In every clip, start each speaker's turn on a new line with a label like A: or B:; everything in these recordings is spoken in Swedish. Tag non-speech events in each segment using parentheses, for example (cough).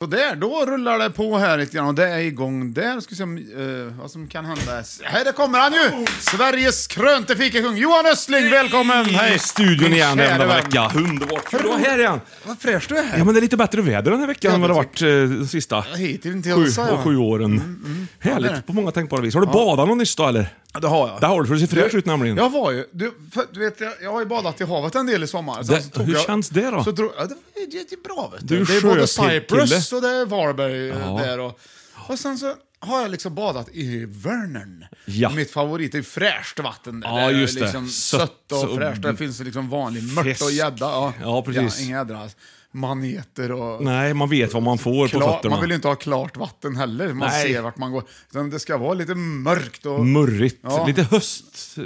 A: Så där, då rullar det på här lite grann och det är igång där. Ska vi se om, eh, vad som kan hända. S- Här där kommer han ju! Sveriges krönte fikakung Johan Östling, välkommen!
B: Hej! Studion
A: Min
B: igen
A: kära
B: denna
A: vän.
B: vecka. Underbart. Hur då? Här igen.
A: Vad fräsch du är här.
B: Ja, men det är lite bättre väder den här veckan än vad det har
A: Ja,
B: varit eh, de sista
A: Hittills,
B: sju,
A: ja.
B: och sju åren.
A: Mm, Ja, det är det.
B: Härligt på många tänkbara vis. Har du badat någon nyss då eller?
A: det har jag.
B: Det har du, för du ser fräsch ut nämligen.
A: Jag var ju... Du, för, du vet, jag, jag har ju badat i havet en del i sommar. Sen
B: Det- hur känns det då?
A: Så drog, ja, det, var- det, det är bra vet
B: Du
A: du.
B: är
A: Det är
B: sjökille.
A: både Cyprus och det är Varberg eh, där. Och, och sen så har jag liksom badat i Värnern.
B: Ja.
A: Mitt favorit är fräscht vatten. Där.
B: Ja,
A: är
B: just det.
A: Liksom sött
B: Sött
A: och
B: och-
A: fräscht. Där finns det liksom vanlig mört
B: Fisk.
A: och gädda. Ja,
B: Ja, precis.
A: inga jädra maneter och...
B: Nej, man vet vad man får på
A: Klar,
B: fötterna.
A: man vill ju inte ha klart vatten heller, man
B: Nej.
A: ser vart man går. Utan det ska vara lite mörkt och
B: Murrigt.
A: Ja.
B: Lite höst. eh,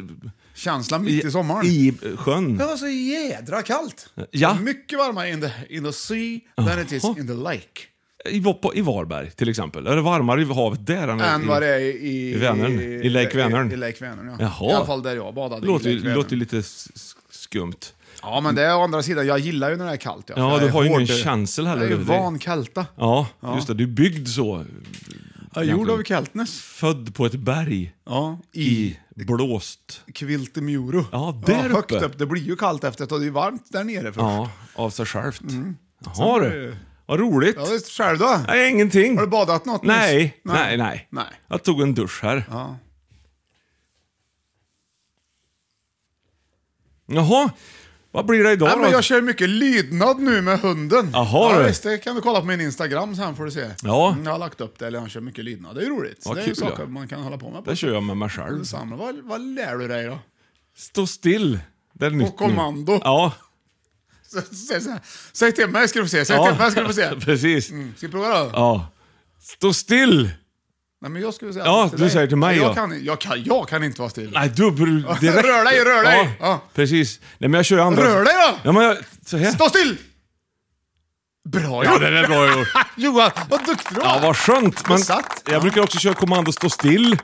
A: känsla mitt i sommaren.
B: I sjön.
A: Det var så jädra kallt.
B: Ja.
A: Mycket varmare in the, in the sea than it is
B: Jaha.
A: in the lake.
B: I, på, I Varberg till exempel. Är det varmare i havet där än,
A: Än vad det är i...
B: i Vänern. I Lake Vänern.
A: I, i Lake Vänern, ja.
B: Jaha.
A: I alla fall där jag badade.
B: Låter,
A: i
B: ju-
A: Lake Vänern.
B: låter ju lite s- s- skumt.
A: Ja, men det är å andra sidan, jag gillar ju när det är kallt. Ja,
B: Ja,
A: Jag
B: du
A: är
B: har ju ingen
A: hård-
B: känsel heller
A: Jag är ju
B: över det.
A: van kälta.
B: Ja, just det. Du är byggd så.
A: Jag är gjord av Keltnes.
B: Född på ett berg.
A: Ja, i
B: I blåst.
A: Kviltemjuro.
B: Ja, där
A: högt
B: uppe.
A: upp. Det blir ju kallt efter ett tag. Det är ju varmt där nere först. Ja,
B: Ja, av sig självt.
A: Mm.
B: Jaha du. Vad roligt.
A: det är själv då?
B: Nej, ingenting.
A: Har du badat något nyss?
B: Nej, nej, nej,
A: Nej.
B: Jag tog en dusch här.
A: Ja.
B: Jaha, vad blir det idag
A: Nej,
B: då?
A: men jag kör mycket lydnad nu med hunden.
B: Jaha,
A: ja,
B: du.
A: visst, det kan du kolla på min Instagram sen får du se.
B: Ja.
A: Mm, Jag har lagt upp det, eller han kör mycket lydnad. Det är ju roligt.
B: Vad
A: det är ju
B: kul,
A: saker
B: ja.
A: man kan hålla på med. På.
B: Det kör jag med mig själv.
A: Samla. Vad, vad lär du dig då?
B: Stå still. Det är nytt nu.
A: kommando.
B: Ja,
A: Så- så- så- Säg till mig ska du få se, säg
B: Ja.
A: till mig ska du
B: (laughs)
A: få se.
B: precis.
A: Mm, Ska vi prova då?
B: Ja. Stå still!
A: Nej, men jag skulle säga
B: Ja,
A: det till
B: du
A: dig.
B: säger till mig,
A: jag
B: ja.
A: Kan, jag, kan, jag kan inte vara still.
B: Nej, du br- direkt.
A: Rör dig, rör dig. Ja.
B: Ja, precis. Nej, men jag kör ju andra...
A: Rör dig då!
B: Ja, men jag... Så här.
A: Stå still! Bra
B: Ja,
A: gjort!
B: det är bra gjort.
A: Johan, vad duktig du
B: Ja, vad skönt. Men
A: Jag satt.
B: jag brukar också köra kommando stå still,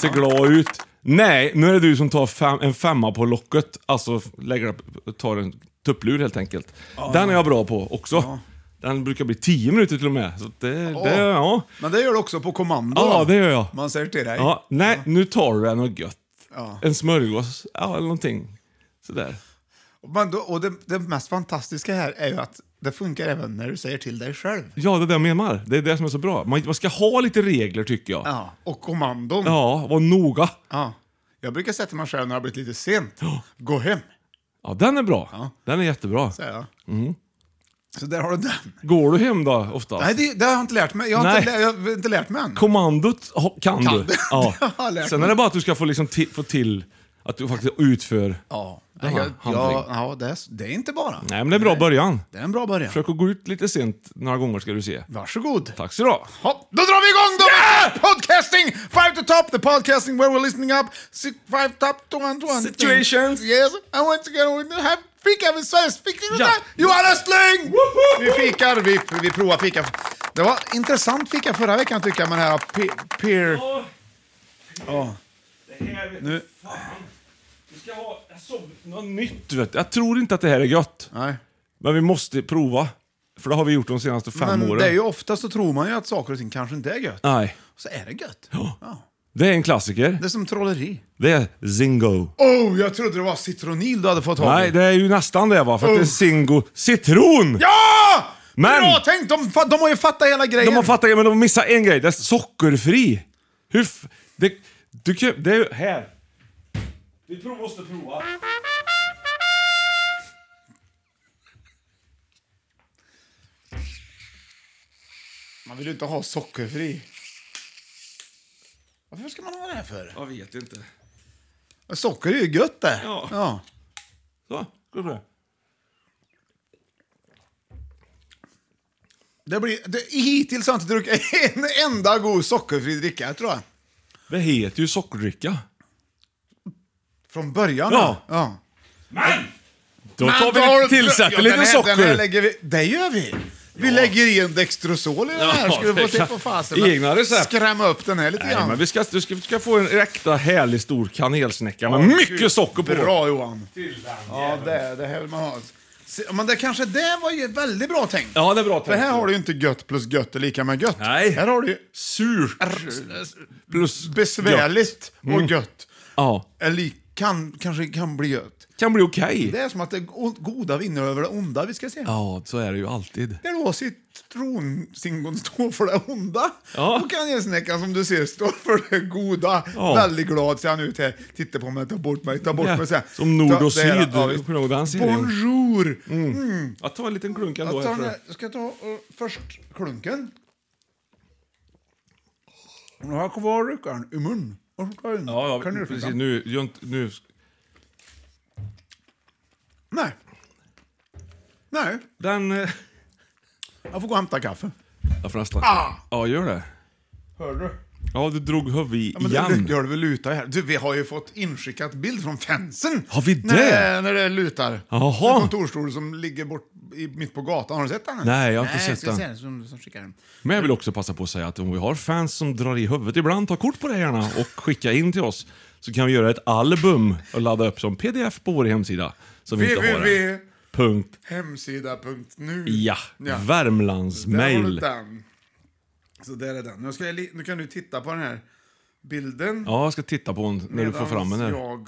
B: se glad ut. Nej, nu är det du som tar fem, en femma på locket. Alltså lägger, upp- tar en tupplur helt enkelt. Den är jag bra på också. Den brukar bli tio minuter till och med. Så det, det, ja.
A: Men det gör du också på kommando.
B: ja,
A: då.
B: det gör jag.
A: Man säger till dig.
B: Ja, nej, nu tar du en och gött. En smörgås, ja, eller någonting. Sådär.
A: Men då, och det, det mest fantastiska här är ju att det funkar även när du säger till dig själv.
B: Ja, det är det jag menar. Det är det som är så bra. Man, man ska ha lite regler tycker jag.
A: Ja. Och kommandon.
B: Ja, var noga.
A: Ja. Jag brukar säga till mig själv när det har blivit lite sent. Gå hem,
B: Ja, den är bra. Den är jättebra.
A: säger jag.
B: Mm.
A: Så där har du den.
B: Går du hem då oftast?
A: Nej, det, det har jag inte lärt mig. Jag har,
B: Nej.
A: inte, lä- jag har inte lärt mig än.
B: Kommandot ha- kan,
A: Kan
B: du.
A: (laughs) du. Det har jag lärt
B: Sen är
A: mig.
B: det bara att du ska få, liksom ti- få till Att du faktiskt utför.
A: Ja.
B: här
A: Jag,
B: handling.
A: ja, ja det, är, det är inte bara.
B: Nej, men det är en bra början.
A: Det är en bra början.
B: Försök att gå ut lite sent några gånger ska du se.
A: Varsågod.
B: Tack så du ha.
A: Hopp, då drar vi igång då! Podcasting! Five to top, the podcasting where we're listening up. Six, five top, two and one.
B: Situations.
A: Yes, I want to go with the have fika med svensk fika.
B: Ja.
A: Johan Östling! Vi fikar, vi, vi provar fika. Det var intressant fika förra veckan tycker jag med den här pe- peer...
B: Nu. Vi ska ha något nytt. Vet du. Jag tror inte att det här är gött.
A: Nej.
B: Men vi måste prova. För det har vi gjort de senaste fem
A: Men
B: åren.
A: det är ju ofta så tror man ju att saker och ting kanske inte är gött.
B: Nej.
A: Så är det gött. Ja.
B: Det är en klassiker.
A: Det är som trolleri.
B: Det är Zingo.
A: Oh, jag trodde det var citronil du hade fått tag i.
B: Nej, det är ju nästan det va. För att det är
A: Oh.
B: Zingo Citron!
A: Ja!
B: Men-
A: Bra tänkt! De, fa- de har ju fattat hela grejen.
B: De har fattat grejen, men de missar en grej. Det är sockerfri. Hur f- det, du kan, det är ju här. Vi prov- måste prova.
A: Man vill ju inte ha sockerfri. Varför ska man ha det här för?
B: Jag vet inte.
A: Socker är ju gött det.
B: Ja.
A: ja.
B: Så, gå på det.
A: Det blir, det, hittills har jag inte druckit en enda god sockerfri dricka, tror jag.
B: Det heter ju sockerdricka.
A: Från början.
B: Ja.
A: ja.
B: Då
A: Men
B: tar
A: då har
B: vi
A: du-
B: tillsätter
A: Ja,
B: lite
A: den här-
B: socker.
A: Den här lägger vi, det gör vi. Vi lägger i en Dextrosol i den här,
B: Ja,
A: ska du
B: det
A: få se
B: kan-
A: på fasen. Men
B: Egna recept.
A: Skrämma upp den här lite
B: Nej,
A: grann.
B: men vi ska, du, ska, du ska få en äkta härlig stor kanelsnäcka med mycket socker på.
A: Bra Johan. Ja, det, det här vill man ha. Se- Men det kanske det var ju väldigt bra tänkt.
B: Ja, det är bra
A: För här
B: tänkt.
A: har du ju inte gött plus gött är lika med gött.
B: Nej.
A: Här har du ju
B: Surt plus gött. Mm.
A: besvärligt och gött.
B: Ja,
A: Är li- kan, kanske kan bli gött.
B: kan bli okej.
A: Det är som att det o- goda vinner över det onda vi ska se.
B: Ja, så är det ju alltid.
A: Där då citronsingon står för det onda.
B: Ja.
A: Och kanelsnäckan som du ser står för det goda.
B: Ja.
A: Väldigt glad ser han ut här. Titta på mig, ta bort mig, ta bort
B: Ja,
A: mig. Så här.
B: som nord och
A: Ta- där,
B: syd,
A: ja, visst.
B: kommer du ihåg den serien? Mm,
A: Bonjour!
B: Jag tar en liten klunk ändå.
A: Jag
B: här,
A: tar den
B: tror jag.
A: här, ska jag ta eh, först klunken. Nu har jag kvar ryckaren i mun. Och så tar jag in
B: Ja, ja precis.
A: kanelsnäckan.
B: Nu, gör inte- nu...
A: Nej. Nej,
B: Den... eh,
A: jag får gå och hämta kaffe.
B: Ja, förresten. Ah! Ja, gör det.
A: Hör du?
B: Ja, du drog huvudet i
A: Ja, men
B: igen.
A: det gör det väl luta här. Du, vi har ju fått inskickat bild från fansen.
B: Har vi
A: När
B: det?
A: det, när det lutar.
B: Jaha.
A: En kontorsstol som ligger bort i, mitt på gatan. Har du sett den?
B: Nej, jag har inte sett
A: ska jag
B: den.
A: se Som, som skickar den.
B: Men jag vill också passa på att säga att om vi har fans som drar i huvudet ibland, ta kort på det gärna och skicka in till oss. Så kan vi göra ett album och ladda upp som pdf på vår hemsida. Som vi inte har än. Punkt.
A: www.hemsida.nu
B: Ja.
A: Ja. Där har du
B: Värmlandsmail.
A: den. Så där är den. Nu, ska jag, li- nu kan du titta på den här bilden.
B: Ja, jag ska titta på den när du får fram den.
A: medans
B: här.
A: jag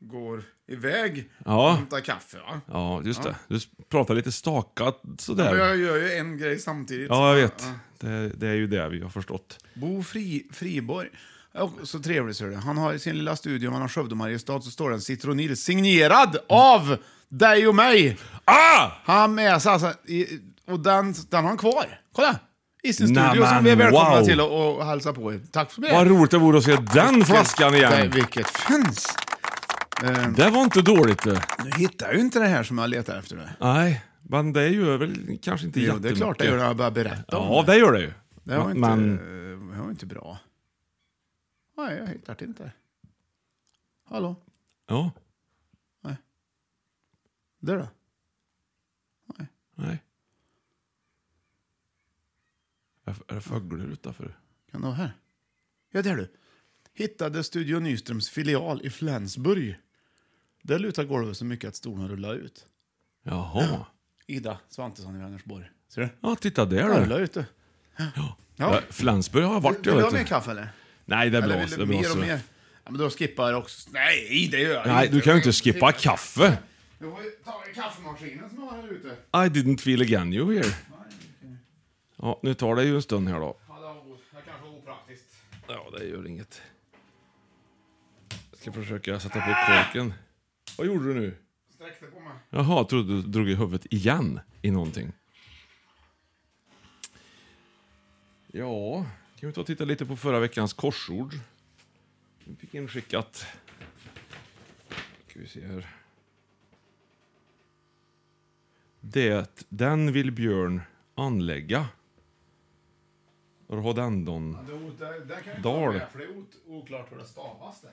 A: går iväg
B: Ja.
A: och hämtar kaffe. Va?
B: Ja, just det. Du pratar lite stakat
A: Och
B: sådär.
A: jag gör ju en grej samtidigt.
B: Ja, jag vet. Det, det är ju det vi har förstått.
A: Bo Fri, Friborg. Ja, Så trevlig ser du. Han har i sin lilla studio mellan Skövde och Mariestad så står det en citronil signerad av dig och mig.
B: Ah!
A: Han med sig alltså, i, och den, den har han kvar. Kolla! I sin
B: Nej,
A: studio som
B: men
A: vi är välkomna
B: wow.
A: till och, och hälsa på er. Tack för det.
B: Vad roligt det vore att se den flaskan
A: Nej,
B: igen.
A: vilket fans!
B: Det var inte dåligt du.
A: Nu hittar jag ju inte det här som jag letar efter. nu.
B: Nej, men det gör väl kanske inte
A: Jo, det är klart det gör det. Jag bara berätta om
B: Ja, det gör det ju.
A: det. var inte,
B: Men
A: det var inte bra. Nej, jag hittar det inte. Hallå?
B: ja,
A: Där då?
B: nej. Är är det fåglar utanför?
A: Kan det vara här? Ja, där du. Hittade Studio Nyströms filial i Flensburg. Där lutar golvet så mycket att stolarna rullar ut.
B: Jaha.
A: Ida Svantesson i Vänersborg. Ser du?
B: Ja, titta där
A: Rullar
B: du.
A: ut du.
B: Ja,
A: Ja.
B: Flensburg har jag varit
A: Vill du ha
B: jag
A: mer
B: vet du.
A: kaffe eller?
B: Nej, det är
A: eller
B: bra.
A: vill
B: så
A: du
B: Det är
A: mer
B: bra.
A: och
B: så.
A: mer? Ja, men då skippar jag också. Nej, det gör jag
B: Nej, du kan ju inte skippa kaffe.
A: Du har ju tagit kaffemaskinen som jag har här ute.
B: I didn't feel again you here. Ja, nu tar det ju en stund här då.
A: Hallå, det kanske var opraktiskt.
B: Ja, det gör inget. Jag ska försöka sätta på korken. Vad gjorde du nu?
A: Ah! Sträckte på mig.
B: Jaha, jag trodde du drog i huvudet igen i någonting. Ja, kan vi ta och titta lite på förra veckans korsord? Vi fick inskickat ska vi se här. Det, den vill Björn anlägga. Rhodendon.
A: Den kan ju
B: Dal.
A: vara med, för det är ot- oklart hur det stavas där.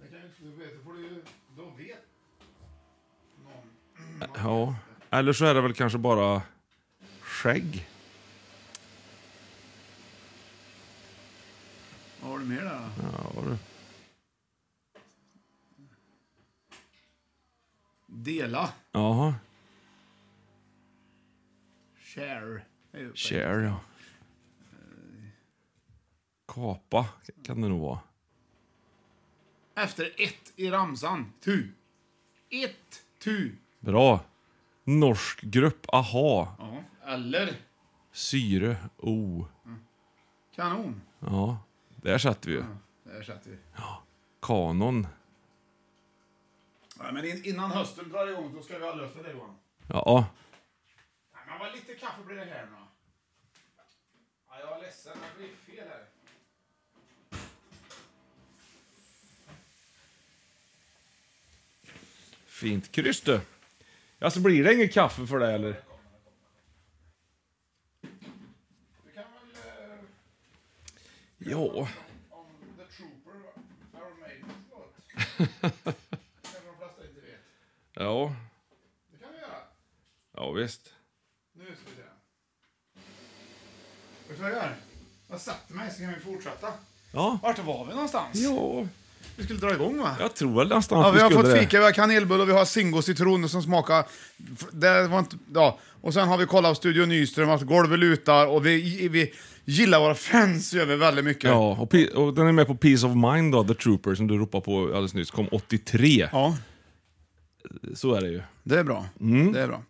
A: Det kan ju inte, du vet, då får du ju, då vet någon.
B: Ja. Eller så är det väl kanske bara skägg.
A: Vad har du mer där då?
B: Ja, du.
A: Dela.
B: Jaha.
A: Share. är ju-
B: Share, ja. Kapa kan det nog vara.
A: Efter ett i ramsan. Tu. Ett. Tu.
B: Bra. Norsk grupp, aha.
A: Ja. Eller
B: Syre, o.
A: kanon.
B: Ja, där satt vi ju.
A: Där satt vi.
B: Kanon.
A: Ja, men in, innan hösten drar igång, då ska vi ha löst det Johan.
B: Ja,
A: Nej, men vad lite kaffe blir det här nu då? Ja, jag är ledsen, det blir fel här.
B: fint kryss du. Alltså blir det inget kaffe för dig eller?
A: Du kan väl... Eh,
B: Ja.
A: om The Trooper, Iron Maidens låt. Det kanske de flesta inte vet.
B: Ja,
A: Det kan vi göra.
B: ja visst.
A: Nu ska vi se. Vet du vad jag gör? Jag sätter mig så kan vi fortsätta.
B: Ja.
A: Vart var vi någonstans?
B: Ja,
A: Vi skulle dra igång va?
B: jag tror väl nästan att
A: Ja, vi har
B: skulle
A: fått
B: det.
A: fika, vi har kanelbulle och vi har Zingo citron som smakar... Det var inte... Ja. Och sen har vi kollat Studio Nyström, att golvet lutar och vi, vi gillar våra fans gör vi väldigt mycket.
B: Ja, och, Pe- och den är med på Peace of Mind då, The Trooper, som du ropade på alldeles nyss, kom 83.
A: ja.
B: Så är det ju.
A: Det är bra. Det är bra.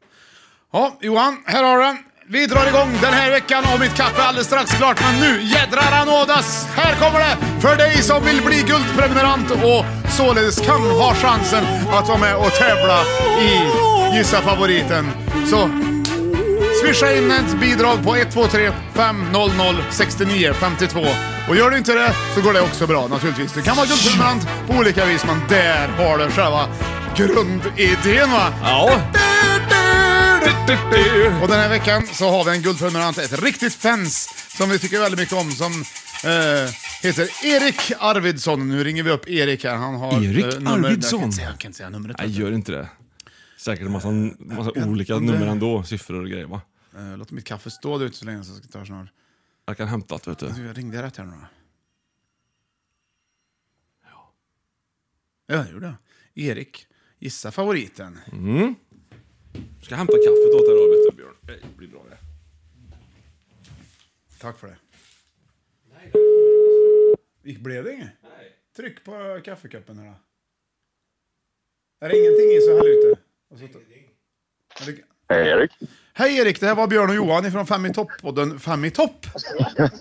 A: Ja, Johan, här har du den. Vi drar igång den här veckan och mitt kaffe är alldeles strax klart. Men nu jädrar anådas! Här kommer det för dig som vill bli guldprenumerant och således kan ha chansen att vara med och tävla i Gissa favoriten. Så swisha in ett bidrag på 123 500 69 52. Och gör du inte det så går det också bra naturligtvis. Du kan vara guldprenumerant på olika vis, men där har du själva grundidén va.
B: Ja.
A: Och den här veckan så har vi en guldprenumerant, ett riktigt fans som vi tycker väldigt mycket om som eh, heter Erik Arvidsson. Nu ringer vi upp Erik här. Han har
B: Erik
A: eh, nummer-
B: Arvidsson?
A: Jag kan inte säga, jag kan inte säga numret.
B: Nej, gör inte det. Säkert en massa, massa
A: kan
B: olika
A: inte.
B: nummer ändå, siffror och grejer va?
A: Eh, låt mitt kaffe stå där ute så länge så jag ska ta snart.
B: Jag kan hämta det vet du.
A: Du, jag ringde rätt här nu då. Ja, det gjorde jag. Erik, gissa favoriten.
B: Ska jag hämta kaffet åt dig då vet du Björn. Det blir bra det.
A: Tack för det. Gick- Blev det inget? Tryck på kaffekuppen här då. Är det ingenting i så häll ut det. Och så ta- Men det-
C: Hej Erik.
A: Hej Erik, det här var Björn och Johan ifrån Fem i topp-podden Fem i topp.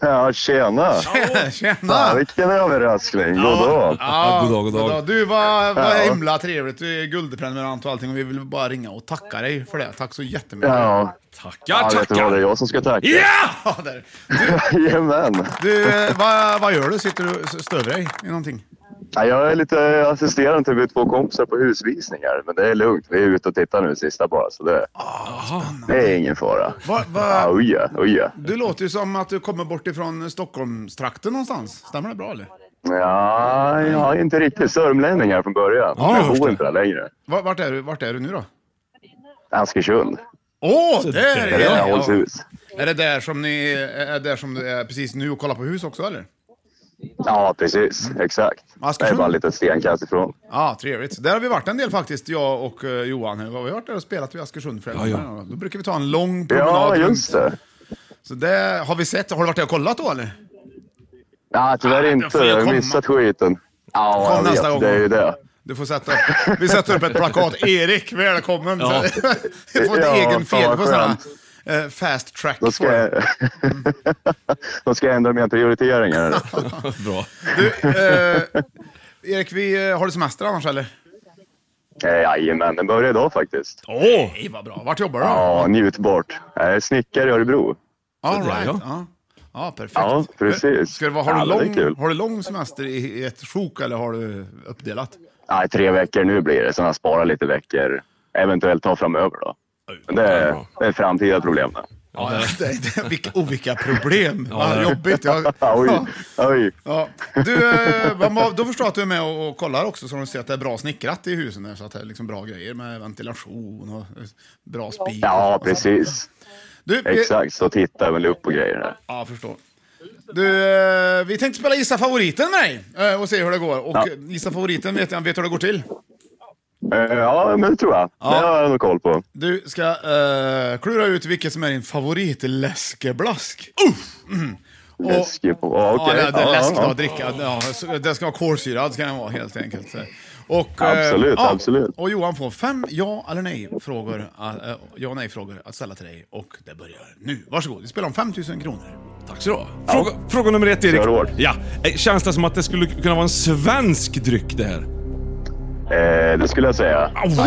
C: Ja, tjena! Ja,
A: Tjena!
C: vilken överraskning. Goddag!
B: Ja, Ah, god dag, god dag.
A: Du var, var
C: Ja.
A: himla trevligt. Du är guldprenumerant och allting och vi vill bara ringa och tacka dig för det. Tack så jättemycket.
C: Ja,
B: Tackar,
C: ja vet du vad, det är
B: tackar!
C: jag som ska tacka.
B: Ja!
A: (laughs) Ja, där.
C: (laughs) Jajamän!
A: Du, eh, vad, vad gör du? Sitter du och stör dig i någonting?
C: Ja, jag är lite assisterande till mina två kompisar på husvisningar, men det är lugnt. Vi är ute och tittar nu sista bara, så det, det är ingen fara.
A: Va,
C: Ja,
A: va,
C: oja, oja.
A: du låter ju som att du kommer bort ifrån Stockholmstrakten någonstans. Stämmer det bra eller?
C: Ja, jag är inte riktigt sörmlänning här från början.
B: Ja, jag
C: jag
B: förstår.
C: bor inte där längre.
A: Va- Vart är du, vart är du nu då?
C: Askersund,
A: Åh, där
C: det
A: är
C: är där jag
A: jag!
C: hålls hus.
A: Är det där som ni är där som du är precis nu och kollar på hus också eller?
C: Ja, precis. Exakt. Det är
A: Askersund?
C: bara ett litet stenkast ifrån.
A: Ja, trevligt. Där har vi varit en del faktiskt, jag och eh, Johan. Vi har varit där och spelat vid Askersund flera
B: Ja, ja.
A: gånger. Då brukar vi ta en lång promenad.
C: Ja,
A: runt.
C: just det.
A: Så det har vi sett. Har du varit där och kollat då eller?
C: Nej, tyvärr
A: Ah, då
C: inte.
A: får jag
C: Jag har
A: komma.
C: missat skiten.
A: Kom
C: Ja, jag
A: nästa gång.
C: vet. Det är ju det.
A: Du får sätta upp, vi sätter upp
C: (laughs)
A: ett plakat. Erik, välkommen! (laughs)
B: Ja.
A: Du får ett
C: Ja, fan
A: egen fel
C: vad
A: på sådana
C: skönt.
A: eh, fast track.
C: Då ska, jag... (laughs) Då ska jag ändra mina
A: (laughs)
C: prioriteringar.
B: Bra.
A: Du, eh, Erik, vi eh, har du semester annars eller?
C: Eh, Jajamän, den börjar idag faktiskt.
B: Åh!
A: Nej, vad bra. Vart jobbar du då?
C: Ja, njutbart. Jag är snickare i Örebro.
A: All
B: där,
A: right.
B: ja.
A: Ja. ja, perfekt.
C: Ja, precis.
A: Ska det vara, har,
C: Ja,
A: du
C: men det är
A: lång,
C: kul.
A: har du lång semester i, i ett sjok eller har du uppdelat?
C: Nej, tre veckor nu blir det. Sen har jag sparat lite veckor. Eventuellt ta framöver då. Men det
B: det är
C: är,
B: bra.
C: det är framtida problem. det.
A: Ja, (laughs) det, det, vilka, oh, vilka problem. Vad
C: (laughs)
A: jobbigt. Jag,
C: Oj,
A: ja,
C: oj.
A: ja. Du, eh, vad- vad- då förstår jag att du är med och, och kollar också så de ser att det är bra snickrat i husen. Där, så att det är liksom bra grejer med ventilation och eh, bra spik.
C: Ja,
A: och så.
C: precis.
A: Du, eh, vi,
C: Exakt, så tittar jag väl upp på grejer där.
A: Ja, jag förstår. Du, eh, vi tänkte spela Gissa favoriten med dig eh, och se hur det går. Och
C: Ja.
A: ja. Gissa favoriten vet jag, vet du hur det går till.
C: Eh, Ja, men det tror jag. Det har jag nog koll på.
A: Du ska eh, klura ut vilket som är din favoritläskeblask. Mm.
C: Läsk på. Ja,
A: Ja,
C: okej.
A: det, det är
C: Ja,
A: läsk då,
C: ja, ja.
A: att dricka. Ja, så- det ska vara kolsyrad ska den vara helt enkelt. Så. Och, eh,
C: Absolut, absolut.
A: Och Johan får fem ja eller nej-frågor eh, ja, nej frågor att ställa till dig. Och det börjar nu. Varsågod, vi spelar om 5 000 kronor.
B: Tack så du ha. Fråga, fråga nummer ett, Erik.
C: Kör hårt.
B: Ja. Eh, Känns det som att det skulle kunna vara en svensk dryck det här?
C: Eh, Det skulle jag säga.
A: Oh, bra!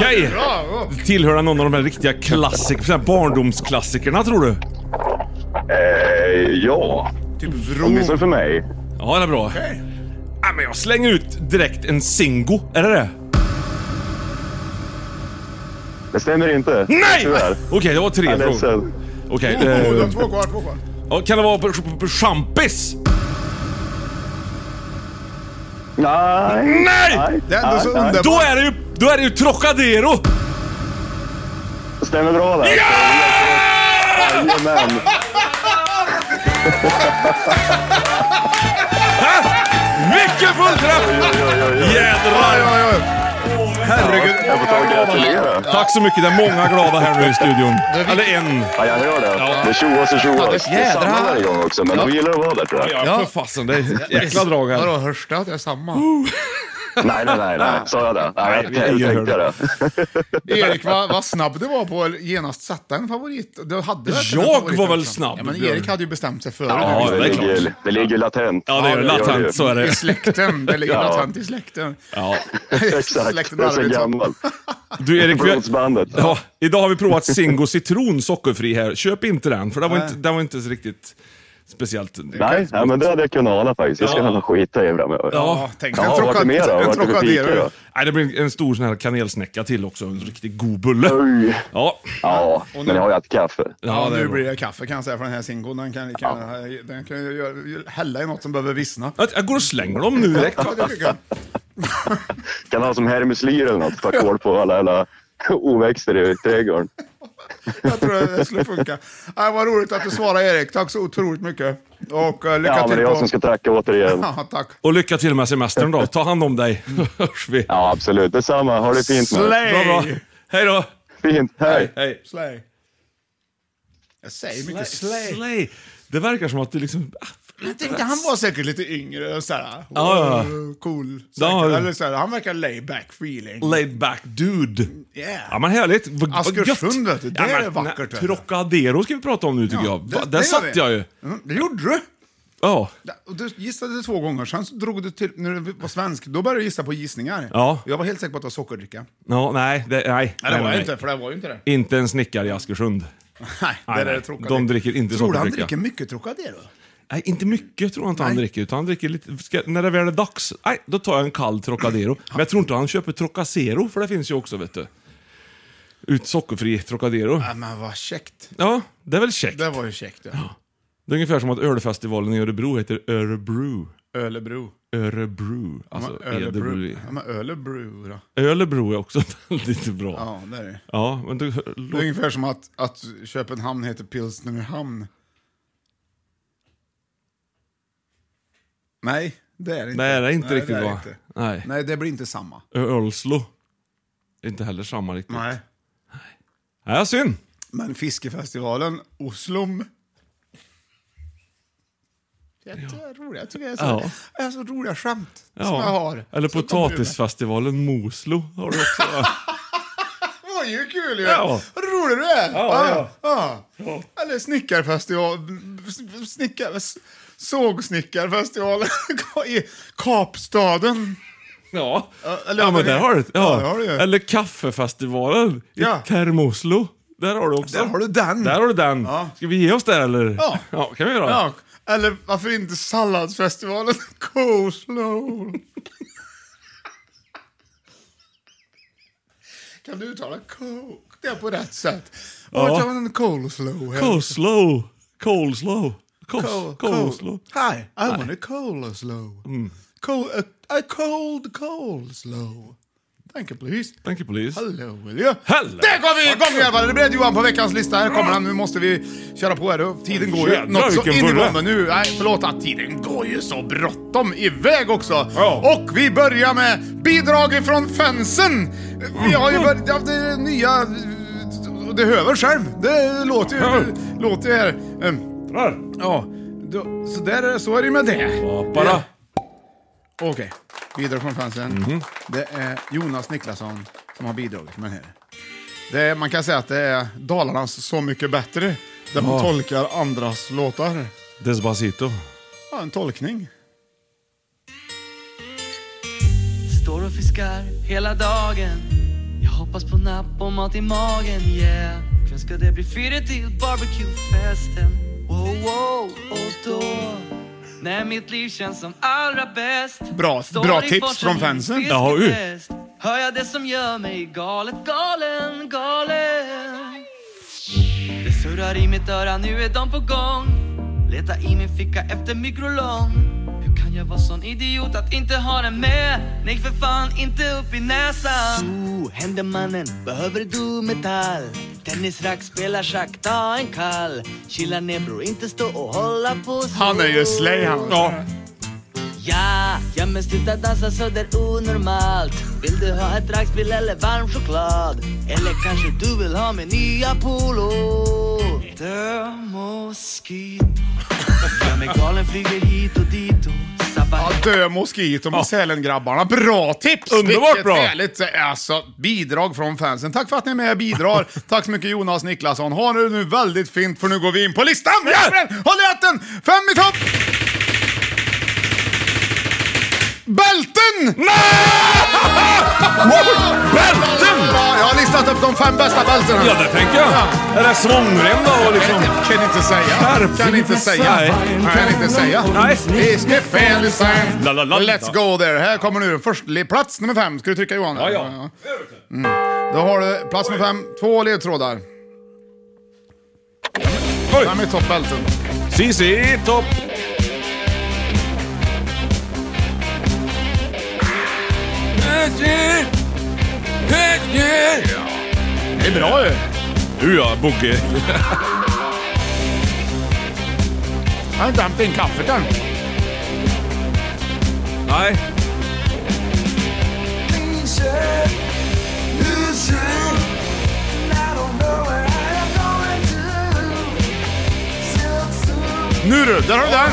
B: Okej!
A: bra.
B: Tillhör den någon av de här riktiga klassik, såna här barndomsklassikerna, tror du?
C: Eh, Ja,
A: Typ
C: åtminstone
A: vrål.
C: för mig.
B: Ja, det är bra.
A: Okej.
B: Ja, men jag slänger ut direkt en Singo. Är det det?
C: Det stämmer inte.
B: Nej!
C: Tyvärr.
B: Okej, det var tre
C: Jag är
B: frågor.
C: ledsen.
B: Okej.
A: Oh,
B: eh,
A: de har två kvar, två kvar.
B: ja, kan det vara på- på- på champis?
C: Nej!
B: Nej!
A: Det är ändå så
C: nej.
A: underbart.
B: Då är det ju, då är det ju Trocadero!
C: Det stämmer bra där. Jajamän!
B: Vilken fullträff!
C: Oj, oj, oj, oj.
B: Jädrar!
A: Oj, oj, oj.
C: Jag får ta och gratulera.
B: Tack så mycket, det är många glada här nu i studion. Eller en.
C: Ja, jag hör det. Det tjoas och tjoas. Det är
A: jädrar.
C: samma varje gång också, men de gillar att vara där tror jag.
B: Ja, för fasen. Det är ett jäkla drag här.
A: Vadå, hörs det att jag är samma?
C: Nej, nej, nej. nej. Sa jag det? Nej,
B: Nej,
C: jag
B: jag
C: tänkte
B: hör
C: det.
A: Erik, vad, vad snabb du var på att genast sätta en favorit. Du hade väl en
B: Jag
A: favorit
B: var väl
A: också?
B: snabb,
A: Ja, men
B: Björn.
A: Erik hade ju bestämt sig före.
B: Ja, det
A: nu, visst.
B: är
C: det,
B: klart.
C: ligger, det ligger latent.
B: Ja, det är latent. Så är
A: I
B: det.
A: släkten. Det ligger
C: Ja.
A: latent i släkten.
B: Ja.
C: Exakt.
A: Släkten
C: Jag är så
A: Arvidsson.
C: gammal.
B: Du Erik, vi har,
C: Blodsbandet.
B: ja, idag har vi provat Zingo citron sockerfri här. Köp inte den, för den var inte, den var inte så riktigt speciellt.
C: Nej, nej, men det hade jag kunnat ana faktiskt. Det ska jag nog skita i framöver.
A: Ja, tänk dig
C: Ja, vart är mer då? Vart
A: en
C: är
A: Trocadero.
C: butiker då?
A: ju.
B: Nej, det blir en stor sån här kanelsnäcka till också. En riktig god bulle.
C: Oj.
B: Ja,
C: Ja, men jag har ju haft kaffe.
A: Ja,
B: ja det är
A: nu
B: bra.
A: blir det kaffe kan jag säga för den här singon. Den kan, kan, den kan ju göra- hälla i något som behöver vissna.
B: Jag- Jag går och slänger dem nu direkt.
A: Ja, det tycker jag.
C: Kan ha som hermeslyr eller något. Ta koll på alla jävla (laughs) oväxter i trädgården.
A: Jag tror det skulle funka. Äh, vad roligt att du svarade Erik. Tack så otroligt mycket. Och eh, lycka
C: Ja, men
A: till
C: det är jag
A: på...
C: som ska tacka återigen.
A: Ja, tack.
B: Och lycka till med semestern då. Ta hand om dig. (laughs) Hörs vi.
C: Ja, absolut. Detsamma. Ha det fint nu.
A: Slay!
B: Bra, bra. Hej då.
C: Fint. Hej.
B: Hej.
A: Slay. Jag säger mycket slay.
B: Slay. Det verkar som att du liksom...
A: Jag tänkte han var säkert lite yngre och sådär.
B: Ja, ja.
A: wow, Cool.
B: Ja,
A: Säkert,
B: ja.
A: eller såhär, han verkar lay back feeling.
B: Laid back dude.
A: Yeah.
B: Ja men härligt. Vad- vad
A: Askersund,
B: gött.
A: vet du. Det
B: Ja,
A: är
B: men,
A: vackert, vet du.
B: Trocadero ska vi prata om nu tycker jag. Va, där
A: gör
B: satt
A: vi.
B: jag ju.
A: Mm, det gjorde du.
B: Ja.
A: Ja, Och du gissade två gånger, sen så drog du till, när du var svensk, då började du gissa på gissningar.
B: Ja.
A: Jag var helt säker på att det var sockerdricka.
B: ja nej, det, nej.
A: Nej, det var
B: nej.
A: jag inte, för det var ju inte det.
B: Inte en snickare i Askersund.
A: Nej, det
B: Nej,
A: där är
B: nej.
A: Trocadero.
B: De dricker inte
A: Tror du han
B: sockerdricka.
A: dricker mycket Trocadero?
B: Nej, inte mycket tror jag inte han
A: Nej.
B: dricker. Utan han dricker lite... Ska, när det väl är dags, nej, då tar jag en kall Trocadero. Men jag tror inte han köper Trocacero, för det finns ju också vet du. Ut sockerfri Trocadero.
A: Ja, men vad käckt.
B: Ja, det är väl käckt.
A: Det var ju käckt. Ja.
B: Det är ungefär som att ölfestivalen i Örebro heter Örebro.
A: Ölebro.
B: Örebro. Alltså
A: Ölebro.
B: Edebro.
A: Ja, men Ölebro då.
B: Ölebro är också (laughs) väldigt bra. Ja,
A: Ja, det är det.
B: men du...
A: Det är ungefär som att, att Köpenhamn heter Pilsnerhamn. Nej, det är det inte.
B: Nej, det är inte
A: Nej,
B: riktigt
A: det är
B: bra.
A: inte.
B: Nej.
A: Nej, det blir inte samma.
B: Ölslo. Inte heller samma riktigt. Nej, ja, synd.
A: Men fiskefestivalen Oslom. Det är så roligt. Jag tycker det är så,
B: Ja.
A: det är så roliga skämt
B: Ja.
A: som jag har.
B: Eller
A: Som
B: potatisfestivalen Moslo har du också.
A: (laughs)
B: va?
A: kommer ur mig. Det var ju kul ju!
B: Ja.
A: Vad rolig du är!
B: Ja,
A: ja. ja. Eller snickarfestival... s- Snickar... s- Sågsnickarfestivalen (laughs) i Kapstaden.
B: ja.
A: eller-
B: ja, men där har du det.
A: Ja,
B: Ja.
A: det har du ju.
B: Eller kaffefestivalen i
A: Ja.
B: Termoslo. Där har du också.
A: Där har du den.
B: Där har du den.
A: Ja.
B: Ska vi ge oss där eller?
A: Ja.
B: ja kan vi göra.
A: Ja, eller varför inte salladsfestivalen Coleslaw? Kan du uttala coke? Det är på rätt sätt.
B: Ja.
A: Vad tar man en coleslaw?
B: Coleslaw. Coleslaw.
A: Col-
B: Cos-
A: col-
B: Coleslaw.
A: Hi, I want a coleslaw. Col- a, a cold coleslaw. Thank you please.
B: Thank you please.
A: Hello will you?
B: Hello.
A: Där går vi igång i alla fall. Det blev Johan på veckans lista. Här kommer han. Nu måste vi köra på här. då. Tiden går ju
B: Jävlar,
A: något så
B: vilken
A: in i
B: burra.
A: bomben nu. Nej, förlåt att tiden går ju så bråttom iväg också.
B: Ja.
A: Och vi börjar med bidrag från fansen. Vi har ju
B: Mm.
A: börjat... ja, Det nya... Det hör väl själv. Det låter ju...
B: Ja.
A: Det låter ju här. Ehm,
B: Där.
A: Ja, då, så, där, är- så är det med det.
B: Papara.
A: Okej, bidrag från fansen. Det är Jonas Niklasson som har bidragit med den här. Det är, man kan säga att det är Dalarnas Så mycket bättre, där man
B: Ja.
A: tolkar andras låtar.
B: Despacito.
A: Ja, en tolkning.
D: Står och fiskar hela dagen Jag hoppas på napp och mat i magen, yeah Ikväll ska det bli fyra till barbecuefesten Wow, wow, och då När mitt liv känns som allra bäst
A: Bra-
D: Står
A: bra
D: i
A: tips
D: forsen
A: från fansen.
D: vid
B: Ja, ju.
D: fiskefest. Hör jag det som gör mig galet, galen, galen Det surrar i mitt öra, nu är de på gång Leta i min ficka efter mikrolång Hur kan jag vara sån idiot att inte ha den med? Nej för fan, inte upp i näsan Så händer mannen, behöver du metall? Tennisrack, spelar schack, ta en kall Chilla ner bror, inte stå och hålla på så
A: Han är ju slay han.
B: Ja.
D: Ja, ja men sluta dansa så där onormalt Vill du ha ett dragspel eller varm choklad? Eller kanske du vill ha min nya polo? The mosquito Gör mig galen, flyger hit och dit och sabbar
A: Ja, dö moskit och Sälengrabbarna. Bra tips!
B: Underbart
A: Vilket
B: bra.
A: härligt alltså, bidrag från fansen. Tack för att ni är med och
B: (laughs)
A: bidrar. Tack så mycket Jonas Niklasson. Ha det nu väldigt fint för nu går vi in på listan! Jävlar! Håll i hatten! Fem i topp! Bälten!
B: (laughs) Bälten!
A: Ja, jag har listat upp de fem bästa bältena.
B: Ja, det tänker jag.
A: Ja.
B: Är det svångrem då? och Liksom?
A: Kan inte säga.
B: Skärp.
A: Kan inte säga.
B: Nej.
A: Kan inte säga.
B: Nej.
A: Is det fel sign?
B: La, la, la, la.
A: Let's go there. Här kommer nu först, plats nummer fem. Ska du trycka Johan? Mm.
B: Ja, ja.
A: Då har du plats nummer fem, två ledtrådar.
B: Oj.
A: Fem i toppbälten.
B: CC, topp.
A: Det är bra ju.
B: eh. Du ja, Bogge.
A: Jag har inte hämtat in kaffet än.
B: Nej.
A: Nu du, där har du den.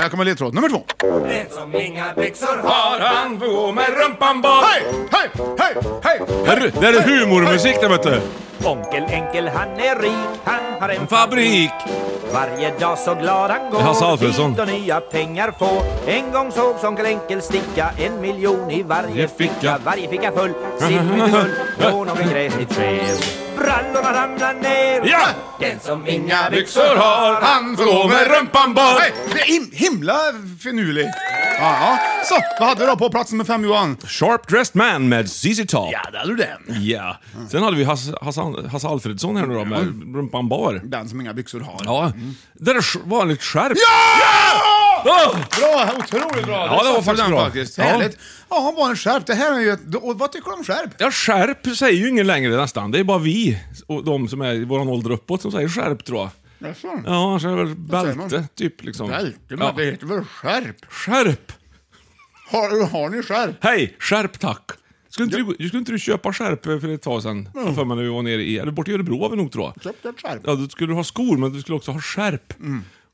A: Här kommer ledtråd nummer två.
B: Har han på med rumpan bak.
A: Hej, hej, hej, hej.
B: Herre, Det är humormusik det vet du.
E: Onkel Enkel han är rik, han har en
B: Fabrik.
E: Varje dag så glad han går
B: Det är Hasse Alfredson.
E: dit och nya pengar få En gång sågs Onkel Enkel sticka en miljon i varje
B: I ficka.
E: ficka. Varje ficka full,
B: (laughs)
E: simfull, från någon gräsligt skäl Brallorna ramlar ner
B: Ja!
E: Den som inga
B: Byxor har han på med rumpan
A: Hej,
B: bak.
A: det är him- himla finurligt. Ja, så, vad hade du då på plats nummer fem Johan?
B: Sharp Dressed Man med CC Top. Ja.
A: där hade du den.
B: Sen hade vi Hasse, Hasse, Hasse Alfredsson här nu då med rumpan bar.
A: Den som inga byxor har.
B: Ja. Det är sk- vanligt skärp.
A: Ja!
B: Åh!
A: Bra, otroligt bra.
B: Ja, det var
A: satte
B: faktiskt
A: den
B: bra.
A: Faktiskt.
B: Ja.
A: Härligt. Ja, han var en skärp. Det här är ju ett... och Vad tycker du om skärp?
B: Ja, skärp säger ju ingen längre nästan. Det är bara vi, och de som är i vår ålder uppåt, som säger skärp tror jag.
A: Jaså?
B: Ja, annars är det väl
A: säger man?
B: bälte, typ. Liksom.
A: Bälte, men
B: Ja.
A: det heter väl skärp?
B: Skärp!
A: Har, har ni skärp?
B: Hej, skärp tack! Skulle inte, du, skulle inte du köpa skärp för ett tag sedan? Mm. För mig när vi var nere i, eller bort i Örebro var vi nog tror jag.
A: Köpte ett skärp. Mm.
B: Ja, då skulle du ha skor, men du skulle också ha skärp.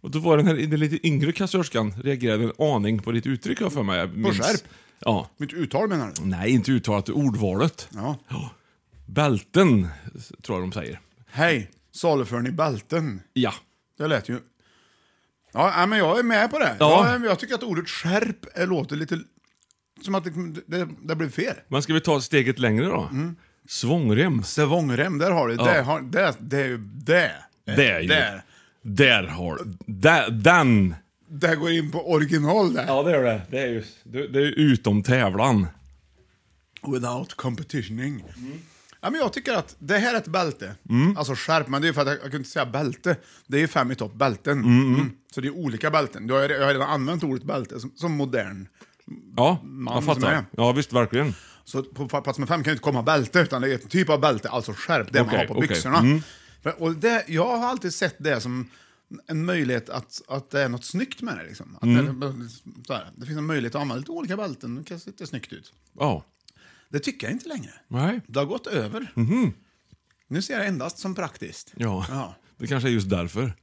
B: Och då var den här den lite yngre kassörskan, reagerade en aning på ditt uttryck har jag för mig. Jag minns.
A: skärp?
B: Ja.
A: Mitt uttal menar du?
B: Nej, inte uttalat, ordvalet.
A: Ja.
B: Bälten, tror jag de säger.
A: Hej, saluför ni bälten?
B: Ja.
A: Det lät ju... Ja, nej, men jag är med på det.
B: Ja.
A: Jag, jag tycker att ordet skärp är- låter lite... Som att det, det, det blev fel.
B: Men ska vi ta steget längre då? Svångrem.
A: Sävongrem, där har du.
B: Ja.
A: Det, har, det, det är ju det.
B: Det är ju-
A: Där.
B: Där har där, Den!
A: Det går in på original där.
B: Ja, det är det. Det är ju det, det är ju utom tävlan.
A: Without competitioning.
B: Mm.
A: Ja, men jag tycker att det här är ett bälte. Alltså skärp, men det är ju för att jag, jag kunde inte säga bälte. Det är ju fem i topp bälten. Mm. Så det är olika bälten. Du har, jag har redan använt ordet bälte som, som modern.
B: Ja,
A: Man
B: jag
A: som är.
B: fattar. Ja, visst, verkligen.
A: Så på fa- plats med fem kan det inte komma bälte, utan det är ett typ av bälte, alltså skärp, det man
B: Okej,
A: har på
B: okej. Mm.
A: byxorna. För- Och det, jag har alltid sett det som en möjlighet att, att det är något snyggt med det. Liksom. Att
B: Mm.
A: det, så här, det finns en möjlighet att använda lite olika bälten, det kan se lite snyggt ut.
B: Ja.
A: Det tycker jag inte längre.
B: Nej.
A: Det har gått över. Nu ser jag det endast som praktiskt.
B: Mhm. Ja.
A: Ja.
B: Det kanske är just därför.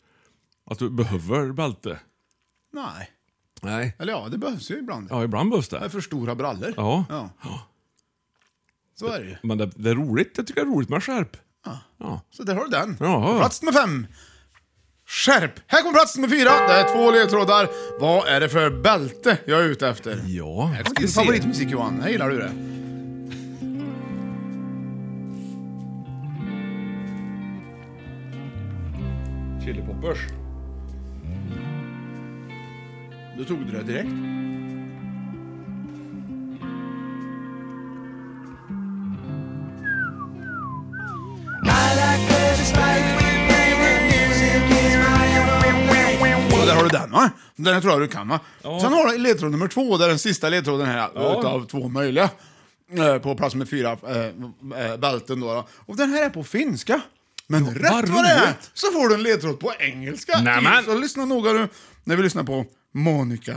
B: Att du behöver bälte.
A: Nej.
B: Nej.
A: Eller ja, det behövs ju ibland.
B: Ja, ibland behövs
A: Det är
B: det.
A: för stora brallor.
B: Ja.
A: Så är det ju.
B: Men det, det är roligt. Jag tycker det är roligt med skärp.
A: Så där har du den.
B: Jaha.
A: Plats nummer fem. Skärp! Här kommer plats nummer fyra. Det är två ledtrådar. Vad är det för bälte jag är ute efter?
B: Ja,
A: Här kommer
B: ska
A: din
B: se.
A: favoritmusik Johan. Här gillar du det.
B: Chili Poppers.
A: Du tog det där direkt. Så där har du den va? Den här tror jag du kan va? Sen har du ledtråd nummer två, det är den sista ledtråden här utav två möjliga. Eh, På plats med fyra, eh, eh, bälten då, då. Och den här är på finska. Men rätt
B: vad
A: vad det är
B: roligt.
A: så får du en ledtråd på engelska.
B: Nämen.
A: Så lyssna noga nu när vi lyssnar på Monica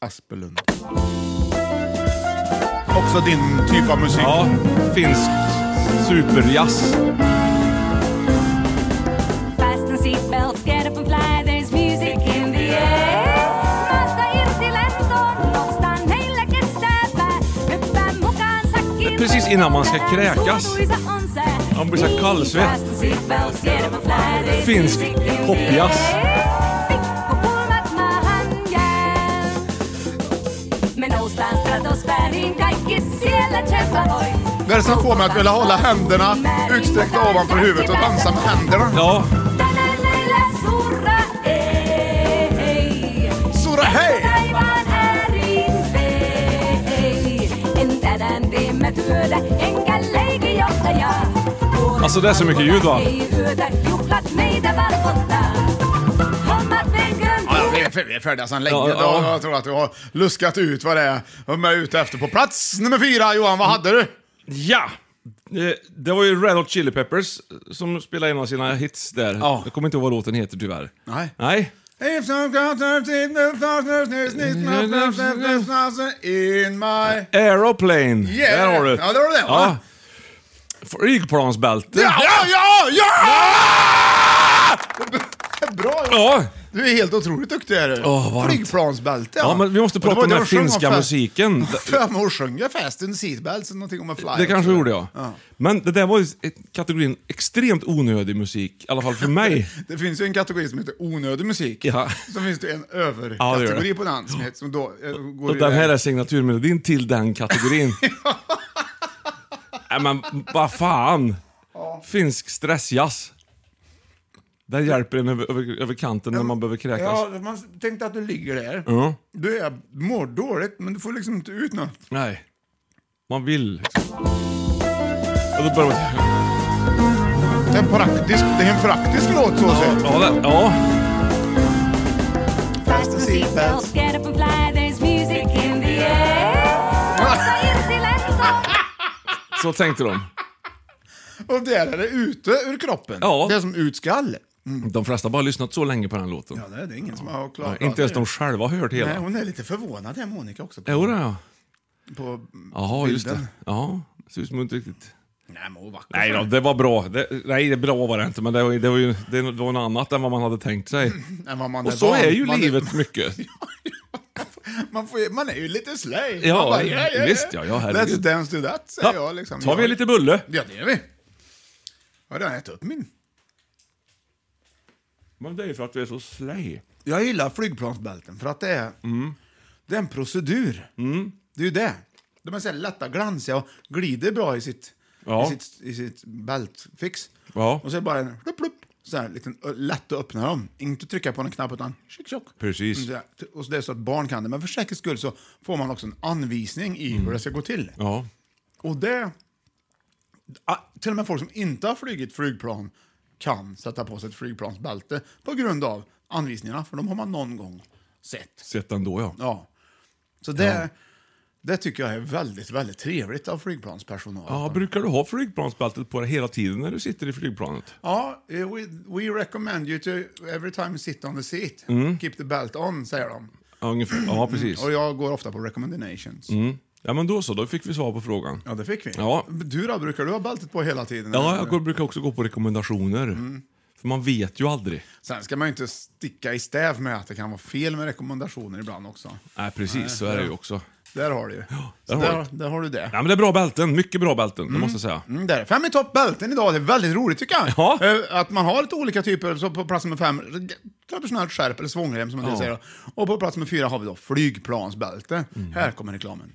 A: Aspelund. Också din typ av musik.
B: Ja, finsk superjazz.
F: Fasten seatbelts, get up and fly, there's music in the air. Maasta irti lentoon, noustaan heillä kestää pää. Hyppää mukaan sakkiin.
B: Precis innan man ska kräkas.
F: Suotuisa on sää.
B: Man blir så här kallsvett.
F: Fasten seatbelts, get up and fly, there's
B: Finsk
F: music in the air.
B: popjazz.
F: Pikkupulmat maahan jää. Me noustaan stratosfääriin, kaikki siellä tsempparoi.
A: Det är som får mig att vilja hålla händerna utsträckta ovanför huvudet och dansa med händerna.
B: Ja,
F: Tänään näillä surra
B: eh,
F: ei.
A: Sura hej!
F: Taivaan ääriin vei. En tänään tee mä työtä, enkä leikinjohtajaa.
B: Alltså, det är så mycket ljud, va?
F: Ei yötä, juhlat meitä valvottaa. Hommat veiköön
A: Ja, ja, vi är fär- vi är färdiga sedan länge.
B: Ja, ja.
A: Då- Jag tror att du har luskat ut vad det är de är ute efter. På plats nummer fyra, Johan, vad hade du?
B: Ja! Eh, Det var ju Red Hot Chili Peppers eh, som spelade en av sina hits där.
A: Ja.
B: Jag kommer inte ihåg vad låten heter tyvärr.
A: Nej.
B: Nej.
A: In my...
B: Aeroplane.
A: Yeah.
B: Där har du.
A: Ja, där har du det,
B: Ja.
A: va?
B: Flygplansbälte.
A: Ja, ja, ja! ja! Bra Johan.
B: Ja.
A: Du är helt otroligt duktig är du.
B: Åh, varmt.
A: Flygplansbälte.
B: Ja, men vi måste
A: Och det
B: prata
A: var
B: om
A: det
B: den här
A: de sjöng
B: finska
A: om fa-
B: musiken.
A: (laughs) För mig sjöng jag Fast and Seatbelts eller någonting om en fly.
B: Det kanske gjorde jag.
A: Ja.
B: Men det där var ju ett- kategorin extremt onödig musik, i alla fall för
A: (laughs)
B: mig.
A: Det finns ju en kategori som heter onödig musik.
B: Ja.
A: Så finns det en
B: Ja, det gör
A: överkategori
B: det.
A: på den som, heter, som då eh, går
B: Och
A: i
B: den
A: det.
B: här är signaturmelodin till den
A: (laughs)
B: kategorin. Nej men vad fan! Finsk stressjazz. Den hjälper en över, över, över kanten när man behöver kräkas.
A: Ja, man tänkte att du ligger där. Du är, mår dåligt, men du får liksom inte ut något.
B: Nej. Man vill liksom. Och då börjar man...
A: Det är, en praktisk, det är en praktisk låt så sett.
B: Ja, det, ja.
A: Fast and
F: Seatbelts, get up and fly, there's music in the air. Nosta irti lentoon.
B: Så tänkte de.
A: Och där är det ute ur kroppen.
B: Ja.
A: Det är som ut skall.
B: De flesta har bara lyssnat så länge på den låten.
A: Ja, det är det ingen som har
B: Ja,
A: klarat
B: inte ens
A: det.
B: de själva har hört
A: Nej,
B: hela.
A: hon är lite förvånad här, Monica också. På,
B: Jo, det är jag.
A: på
B: Jaha, just
A: bilden.
B: det. Ja, det ser ut som inte riktigt...
A: Nej, men hon är vacker.
B: Nej då, det var bra. Det, nej, det bra var det inte, men det var, det var ju det var något annat än vad man hade tänkt sig.
A: Nej, men man
B: Och så
A: van.
B: är ju
A: man
B: livet mycket.
A: (laughs)
B: (laughs)
A: man, får, ju- man är ju lite slöj.
B: Ja,
A: man
B: visst, ja, ja, herregud.
A: Let's dance to that, säger
B: Ja,
A: jag. Liksom.
B: tar vi
A: Jag-
B: lite bulle?
A: Ja, det gör vi. Jag har redan ätit upp min.
B: Men det är ju för att du är så slay.
A: Jag gillar flygplansbälten för att det är,
B: Mm.
A: det är en procedur. Det är ju det. De är så här lätta, glansiga och glider bra i sitt,
B: Ja.
A: i sitt, i sitt bältfix.
B: Ja.
A: Och så är det bara en plupp, plupp, så här, liten, ö, lätt att öppna dem. Inte trycka på en knapp utan tjock, tjock.
B: Precis.
A: Mm, så här.
B: Mm.
A: Och så det är så att barn kan det. Men för säkerhets skull så får man också en anvisning i hur det ska gå till.
B: Ja.
A: Och det... Ah, Till och med folk som inte har flugit flygplan kan sätta på sig ett flygplansbälte på grund av anvisningarna, för de har man någon gång sett.
B: Sett ändå ja.
A: Ja. Så det, det tycker jag är väldigt, väldigt trevligt av flygplanspersonal.
B: ja. Brukar du ha flygplansbältet på dig hela tiden när du sitter i flygplanet?
A: Ja, eh, we, we recommend you to every time you sit on the seat,
B: Mm.
A: keep the belt on, säger de.
B: Ja, ungefär. Mm. ja precis.
A: Och jag går ofta på recommendations.
B: Ja, men då så. Då fick vi svar på frågan.
A: Ja, det fick vi.
B: Mm. Ja.
A: Du då, brukar du ha bältet på hela tiden?
B: Ja,
A: eller?
B: jag går, brukar också gå på rekommendationer. För man vet ju aldrig.
A: Sen ska man ju inte sticka i stäv med att det kan vara fel med rekommendationer ibland också.
B: Nej, precis. så är det ju också.
A: Där har du ju. Så
B: där har
A: där, där har du det.
B: Ja, men det är bra bälten. Mycket bra bälten, det måste jag säga.
A: Mm, där. Fem i topp bälten idag, det är väldigt roligt tycker jag.
B: Ja.
A: Eh, Att man har lite olika typer, så på plats nummer fem, traditionellt skärp eller svångrem som man
B: Ja.
A: del säger. Och på plats nummer fyra har vi då flygplansbälte.
B: Mm.
A: Här kommer reklamen.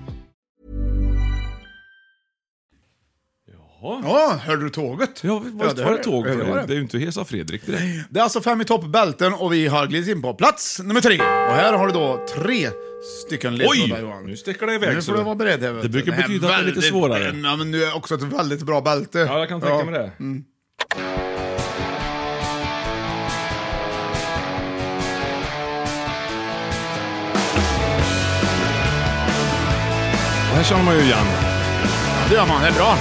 A: Ja, hörde du tåget?
B: Ja, vad
A: Ja,
B: var det ett tåg för
A: det,
B: dig?
A: var
B: Det
A: det.
B: är ju inte Hesa Fredrik direkt.
A: det är alltså fem i topp bälten och vi har glidit in på plats nummer tre. Och här har du då tre stycken ledtrådar
B: Oj!
A: Johan.
B: Nu sticker det iväg.
A: Nu får
B: så.
A: du vara beredd. här, vet
B: Det
A: du.
B: brukar
A: här
B: betyda att det är lite
A: väldigt-
B: svårare.
A: Ja, men nu är också ett väldigt bra bälte. Mm.
B: Ja, jag kan tänka mig det. Det här känner man ju igen.
A: Det gör man, det är bra.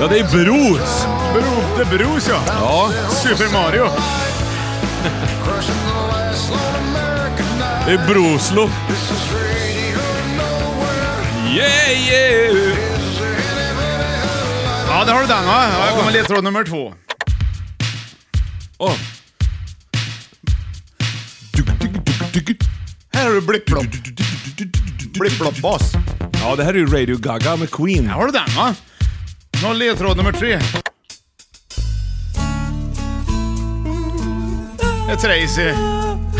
B: Ja, det är Bros.
A: Bro, det är Bruce ja.
B: Ja,
A: Super Mario.
B: det är Broslo. Yeah, yeah!
A: Ja, där har du den va? Ja, jag kommer ledtråd nummer två.
B: Åh.
A: Här har du blipplopp. Blipplopp-bas.
B: Ja, det här är ju Radio Gaga med Queen.
A: Där har du den va? Nu har ledtråd nummer tre. Det är Tracy.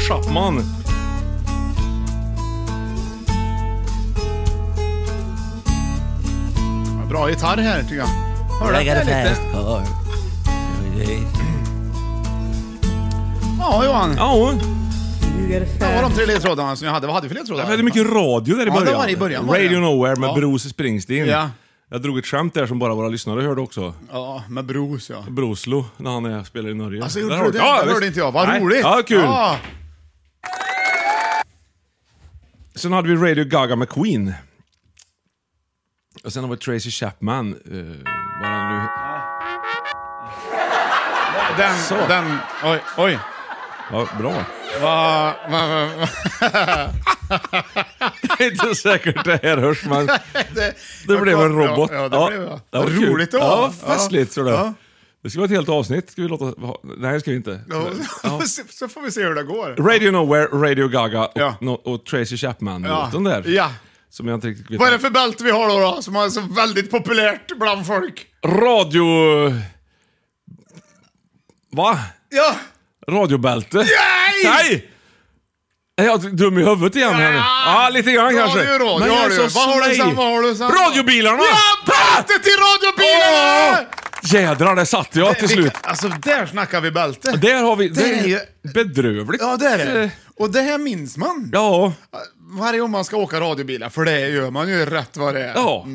B: Chapman.
A: Bra gitarr här tycker jag. Hör du det lite? Ja, Johan.
B: Ja,
A: Det var de tre ledtrådarna som jag hade. Vad hade vi för
B: det
A: ledtrådar?
B: var väldigt mycket radio där i
A: Ja, det
B: början.
A: var det i början, var det.
B: Radio Nowhere med
A: Ja.
B: Bruce Springsteen.
A: Ja.
B: Jag drog ett skämt där som bara våra lyssnare hörde också.
A: Ja, med Bruce ja.
B: Broslo, när han är, spelar i Norge.
A: Alltså,
B: Där
A: gjorde
B: har
A: du
B: du-
A: det?
B: Ja,
A: det hörde
B: visst.
A: inte jag. Vad
B: Nej.
A: roligt!
B: Ja, kul!
A: Ja.
B: Sen hade vi Radio Gaga med Queen. Och sen har vi Tracy Chapman. Uh, vad han nu...
A: Den,
B: Så.
A: den, oj, oj.
B: Ja, bra.
A: Va, va, va, va.
B: (laughs) Det är inte säkert det här hörs,
A: (laughs)
B: men
A: Det,
B: det blev en
A: Ja,
B: robot.
A: Ja, det blev jag.
B: var
A: Vad
B: kul.
A: roligt det var.
B: Ja, festligt. Ja.
A: Ja.
B: Det ska vara ett helt avsnitt. Ska vi låta... ha- Nej, det ska vi inte.
A: Ja.
B: Ja.
A: (laughs) Så- Så får vi se hur det går.
B: Radio Nowhere, Radio Gaga och,
A: Ja.
B: no, och Tracy Chapman-låten där.
A: Ja.
B: Som jag inte riktigt vet.
A: Vad är det för bälte vi har då, då som är så väldigt populärt bland folk?
B: Radio... Va?
A: Ja!
B: Radiobälte?
A: Nej!
B: Nej! Är jag dum i huvudet igen här nu? Ja, lite grann kanske.
A: Radio,
B: Men
A: radio.
B: alltså,
A: Vad har du
B: nej.
A: sen? Vad har du sen?
B: Radiobilarna!
A: Ja, bälte till radiobilarna!
B: Jädrar, där satt jag till slut.
A: Alltså, där snackar vi bälte.
B: Där har vi... Det
A: Det är ju-
B: är bedrövligt.
A: Ja, det är det.
B: Eh,
A: Och det här minns man.
B: Ja.
A: Varje gång man ska åka radiobilar, för det gör man ju rätt vad det är.
B: Ja.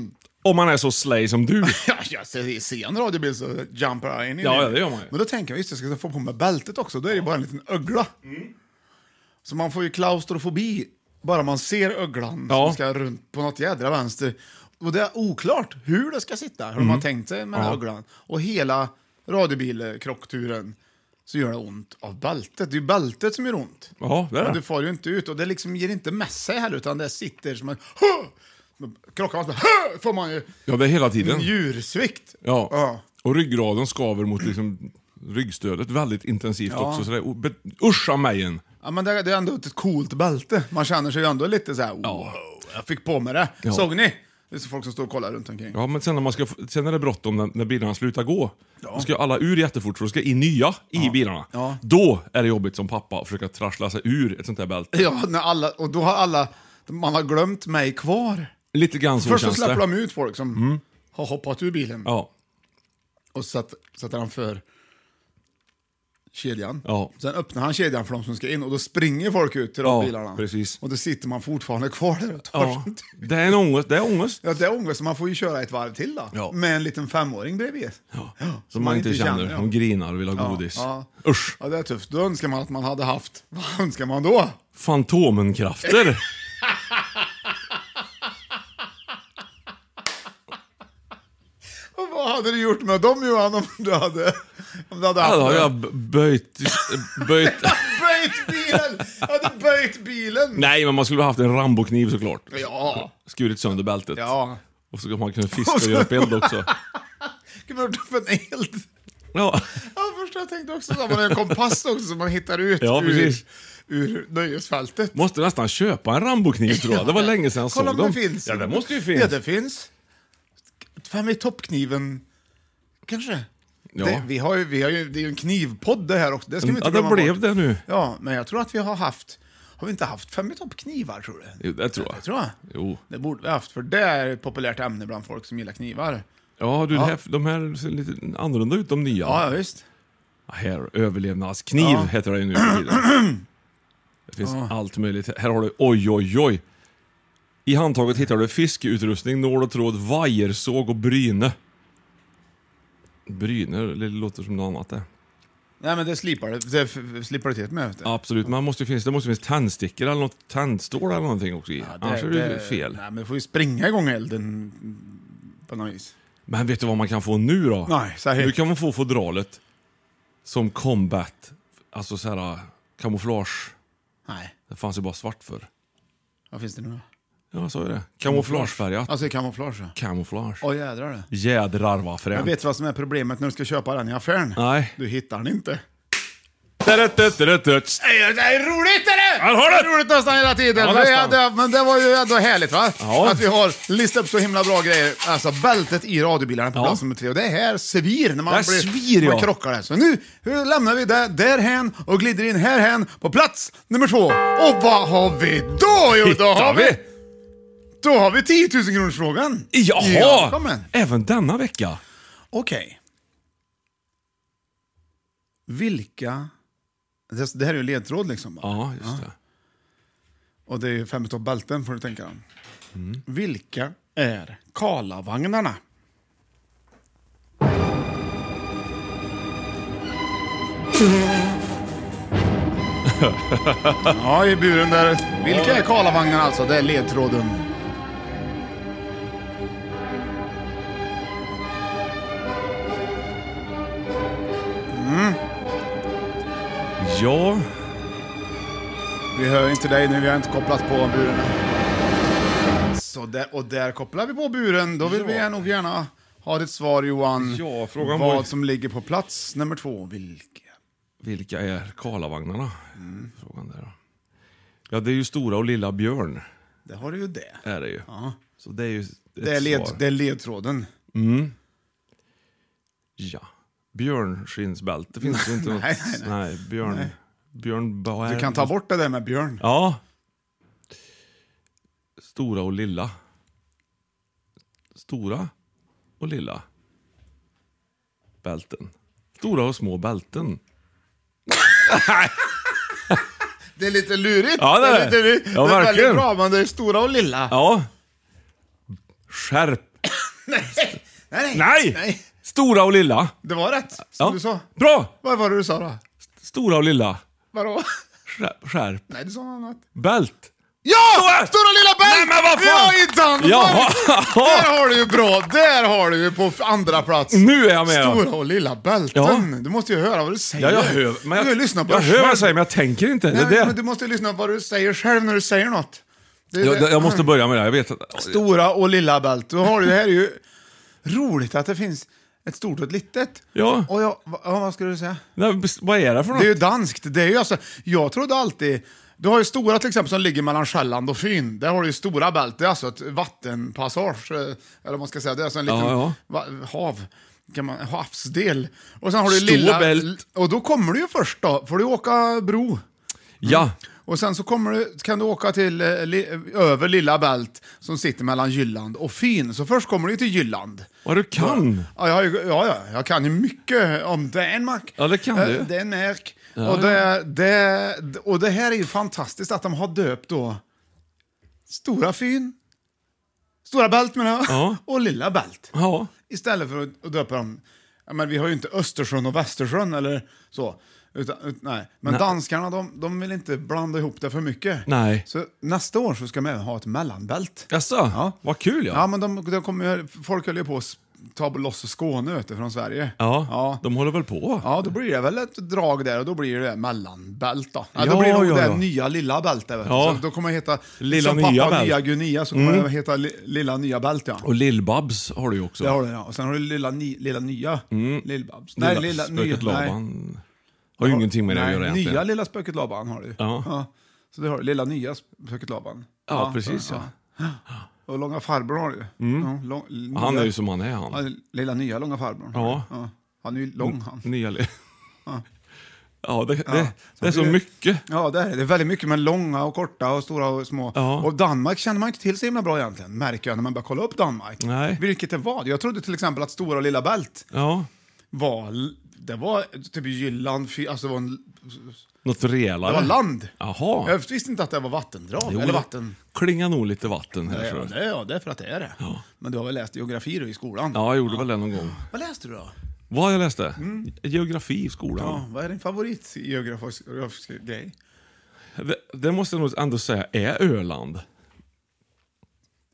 B: Om man är så slay som du.
A: Ja, jag ser, ser jag en radiobil så jumpar jag in i
B: Ja,
A: den.
B: ja, det gör man ju.
A: Men då tänker jag, just det, ska jag få på mig bältet också? Då är det bara en liten ögla.
B: Mm.
A: Så man får ju klaustrofobi bara man ser öglan
B: Ja.
A: som ska runt på något jädra vänster. Och det är oklart hur det ska sitta, hur de har tänkt sig med den här
B: Mm. Ja.
A: öglan. Och hela radiobilkrockturen så gör det ont av bältet. Det är ju bältet som gör ont.
B: Ja, det är
A: Men
B: det.
A: du far ju inte ut och det liksom ger inte med sig heller utan det sitter som en... Krockar man så bara, "Hö!" får man ju
B: Ja, det är hela tiden.
A: njursvikt.
B: Ja.
A: Ja.
B: Och ryggraden skaver mot liksom, ryggstödet väldigt intensivt
A: Ja.
B: också. Så det är, o- be- uscha mejen.
A: Ja, men det, det är ändå ett coolt bälte. Man känner sig ju ändå lite så här, wow, jag fick på mig det.
B: Ja.
A: Såg ni? Det är så folk som står och kollar runt omkring.
B: Ja, men sen, när man ska, f- sen är det bråttom när, när bilarna slutar gå. Då ska alla ur jättefort för då ska in nya i bilarna.
A: Ja.
B: Då är det jobbigt som pappa att försöka trassla sig ur ett sånt där bälte.
A: Ja, när alla, och då har alla, man har glömt mig kvar.
B: Lite grann så
A: Först så
B: känns
A: släpper
B: det. Mm.
A: de ut folk som har hoppat ur bilen
B: Ja,
A: och satt, sätter han för kedjan.
B: ja.
A: Sen öppnar han kedjan för de som ska in och då springer folk ut till de
B: Ja,
A: bilarna.
B: precis.
A: Och då sitter man fortfarande kvar där och tar
B: ja.
A: sånt.
B: Det är en ångest. Det är ångest.
A: Ja, det är ångest, så man får ju köra ett varv till då.
B: Ja.
A: Med en liten femåring bredvid. Ja.
B: Som man, inte känner.
A: ja.
B: De grinar och vill ha godis.
A: Ja.
B: Usch!
A: Ja, det är tufft. Då önskar man att man hade haft... Vad önskar man då?
B: Fantomenkrafter!
A: Och vad hade du gjort med dem Johan om du hade... Om du hade haft...
B: Ja, då har jag
A: dem?
B: b- böjt... böjt. (laughs)
A: Böjt bilen! Jag hade böjt bilen!
B: Nej, men man skulle ha haft en Rambokniv såklart.
A: Ja.
B: Skurit sönder bältet.
A: Ja.
B: Och så kan man kunna fiska och göra bild
A: (laughs)
B: också.
A: Gud, vad för en helt...
B: Ja,
A: Ja, först jag tänkte också så. här, Man har en kompass också som man hittar ut
B: Ja,
A: ur,
B: precis.
A: ur nöjesfältet.
B: måste nästan köpa en Rambokniv tror jag. Det var länge sedan jag
A: Kolla
B: såg
A: om det
B: dem.
A: finns.
B: Ja, det måste ju
A: Ja,
B: finnas.
A: det finns. Fem i toppkniven, kanske.
B: Ja.
A: Det, vi har ju, vi har ju, det är ju en knivpodd det här också. Det ska vi inte
B: Ja, det
A: glömma
B: blev
A: bort.
B: det nu.
A: Ja, men jag tror att vi har haft... Har vi inte haft fem i toppknivar, tror du?
B: Jo, Det tror jag.
A: Det tror jag.
B: Jo.
A: Det borde vi ha haft, för det är ett populärt ämne bland folk som gillar knivar.
B: Ja, du, det Här, de här ser lite annorlunda ut, de nya.
A: Ja, ja visst.
B: Här, överlevnadskniv
A: Ja.
B: heter det ju nu för tiden.
A: (clears throat)
B: Det finns allt möjligt. Här har du oj, oj, oj. I handtaget hittar du fiskeutrustning, nål och tråd, vajersåg och bryne. Bryne, det låter som något annat det.
A: Nej, men det slipar det, det f- slipar det till med. Vet du.
B: Absolut, man måste ju finnas, det måste finnas tändstickor eller något tändstål eller någonting också i.
A: Ja,
B: Annars är det ju fel.
A: Nej, men det får ju springa igång elden på något vis.
B: Men vet du vad man kan få nu då?
A: Nej, säg.
B: Nu kan man få fodralet som combat, alltså så här äh, kamouflage.
A: Nej,
B: Det fanns ju bara svart för.
A: vad finns det nu då?
B: Ja, jag sa ju det. Kamouflagefärgat.
A: Alltså i kamouflage. ja.
B: Kamouflage.
A: Åh jädrar det.
B: Jädrar vad
A: Jag
B: fränt.
A: vet vad som är problemet när du ska köpa den i affären.
B: Nej.
A: Du hittar den inte.
B: Tadadadadadads.
A: Det är, det är roligt är det!
B: Han har det!
A: är roligt nästan hela tiden.
B: Ja,
A: det är,
B: nästan.
A: det, men det var ju ändå härligt va?
B: Ja.
A: Att vi har listat upp så himla bra grejer. Alltså bältet i radiobilarna på
B: Ja.
A: plats nummer tre. Och det här svir när man,
B: Det här
A: blir,
B: svir,
A: man
B: ja.
A: krockar där. Så nu nu lämnar vi det därhän och glider in härhän på plats nummer två. Och vad har vi då? Jo, då har
B: Hittar
A: vi,
B: vi!
A: då har vi 10 000 kronorsfrågan.
B: Jaha!
A: Välkommen.
B: Även denna vecka.
A: Okej. Vilka... Det det här är ju ledtråd liksom. Bara.
B: Ja, just det.
A: Och det är ju fem utav bälten får du tänka om.
B: Mm.
A: Vilka är
B: (laughs)
A: Karlavagnarna? ja, i buren där. Vilka är Karlavagnarna alltså? Det är ledtråden.
B: Ja,
A: Vi hör inte dig nu, vi har inte kopplat på buren. Så där, och där kopplar vi på buren. Då vill vi nog gärna ha ditt svar Johan.
B: Ja, frågan
A: Vad
B: var-
A: som ligger på plats nummer två. Vilka?
B: vilka är Karlavagnarna? Frågan där då. Ja, det är ju Stora och Lilla Björn.
A: Det har du ju det.
B: Är det ju.
A: Ja.
B: Så det är ju ett
A: Det är, led,
B: svar.
A: det är ledtråden.
B: Ja. Björnskinnsbälte finns det inte något.
A: (laughs) Nej, nej, nej.
B: björn. Björn Bauer.
A: Du kan ta bort det där med Björn.
B: Ja. Stora och lilla. Stora och lilla. Bälten. Stora och små bälten.
A: Det är lite lurigt.
B: Ja, det är det.
A: lite lurigt.
B: Ja,
A: det är
B: verkligen.
A: väldigt bra, men det är stora och lilla.
B: Ja. Skärp.
A: (laughs) Nej, nej,
B: Nej! Stora och lilla.
A: Det var rätt, som
B: Ja.
A: du sa.
B: Bra!
A: Vad var det du sa då?
B: Stora och lilla.
A: Vadå? (laughs)
B: Skär- Skärp.
A: Nej, du sa något annat.
B: Bält.
A: Ja! Stora lilla Bengt!
B: Nej, men vad fan!
A: Ja, i Danmark!
B: Jaha.
A: Där har du ju bra, där har du ju på andra plats.
B: Nu är jag med.
A: Stora och lilla bälten.
B: Ja.
A: Du måste ju höra vad du säger.
B: (laughs) Ja, jag hör, men
A: du har
B: jag,
A: ju lyssnat på
B: jag
A: dig
B: hör vad jag
A: själv.
B: säger, men jag tänker inte.
A: Nej,
B: det är det.
A: men du måste ju lyssna på vad du säger själv när du säger något. Det är
B: Jag,
A: det.
B: jag måste börja med det. här, Jag vet att,
A: Stora och lilla bält. Då har du, det här är ju roligt att det finns ett stort och ett litet.
B: Ja.
A: Och jag, va- ja, vad skulle du säga?
B: Nej, vad är det för något?
A: Det är ju danskt. Det är ju alltså, jag trodde alltid... Du har ju stora till exempel som ligger mellan Själland och Fyn. Där har du ju stora bält. Det är alltså ett vattenpassage, eh, eller vad man ska säga. Det är alltså en liten
B: Ja, ja.
A: Va, hav. Kan man, havsdel. Och sen har du
B: Stor
A: lilla...
B: bält.
A: Och då kommer du ju först då, får du åka bro.
B: Ja.
A: Och sen så kommer du, kan du åka till, eh, li, över Lilla Bält som sitter mellan Jylland och Fyn. Så först kommer du ju till Jylland.
B: Vad du kan.
A: Ja, jag, har ju- ja, ja, jag kan ju mycket om Danmark.
B: Ja, det kan
A: Eh,
B: du.
A: Danmark.
B: Ja,
A: och, det, det, och det här är ju fantastiskt att de har döpt då Stora Fyn, Stora Bält menar jag,
B: Ja.
A: (laughs) och Lilla Bält.
B: Ja.
A: Istället för att, att döpa dem, ja, men vi har ju inte Östersjön och Västersjön eller så. Utan, ut, nej. Men
B: Nej.
A: danskarna de, de vill inte blanda ihop det för mycket.
B: Nej.
A: Så nästa år så ska man även ha ett mellanbält.
B: Jaså?
A: Ja.
B: Vad kul ja.
A: Ja, men de, de kommer, ju- folk höll ju på att s- ta loss Skåne vet du, från Sverige.
B: Ja,
A: Ja.
B: de håller väl på?
A: Ja, då blir det väl ett drag där och då blir det mellanbält då. Ja,
B: Ja,
A: då blir det nog
B: ja,
A: det
B: ja.
A: nya lilla bält där, vet du.
B: Ja.
A: Så då kommer jag heta...
B: Lilla
A: som pappa
B: nya bält. Mm.
A: nya Gunilla så kommer jag heta li, lilla nya bält ja.
B: Och Lill-Babs har du ju också.
A: Det har du ja. Och sen har du lilla, ni, lilla nya Lill-Babs.
B: Mm. Lilla
A: Nej, lilla nya.
B: spöket
A: Nej.
B: Laban. Har ju ingenting med det att
A: Nej,
B: göra egentligen.
A: Nya lilla spöket Laban har du
B: Ja.
A: Så det har du, lilla nya spöket Laban.
B: Ja,
A: så-
B: precis, ja.
A: Och långa farbror har du ja, lång,
B: Ja, Han
A: nya-
B: är ju som han är han.
A: Ja, lilla nya långa farbror.
B: Ja. Mm.
A: Han är ju lång han.
B: Nya li- Ja, det, det,
A: Så
B: det är så
A: blir det-
B: mycket.
A: Ja, det är det. Det är väldigt mycket med långa och korta och stora och små.
B: Ja.
A: Och Danmark känner man inte till så himla bra egentligen, märker jag när man börjar kolla upp Danmark.
B: Nej.
A: Vilket det var. Jag trodde till exempel att Stora och Lilla Bält
B: Ja,
A: var, det var typ Jylland, fy- alltså det var, en,
B: något
A: det
B: rejälare.
A: var land.
B: Jaha.
A: Jag visste inte att det var vattendrag,
B: Jo,
A: eller vatten.
B: Klingar nog lite vatten här.
A: Ja,
B: tror jag.
A: det, ja, det är för att det är det. Men du har väl läst geografi då i skolan?
B: Ja, jag gjorde väl det någon gång.
A: Vad läste du då?
B: Vad jag läste?
A: Mm.
B: Geografi i skolan.
A: Ja, vad är din favorit geografisk grej?
B: Det, det måste jag nog ändå säga är Öland.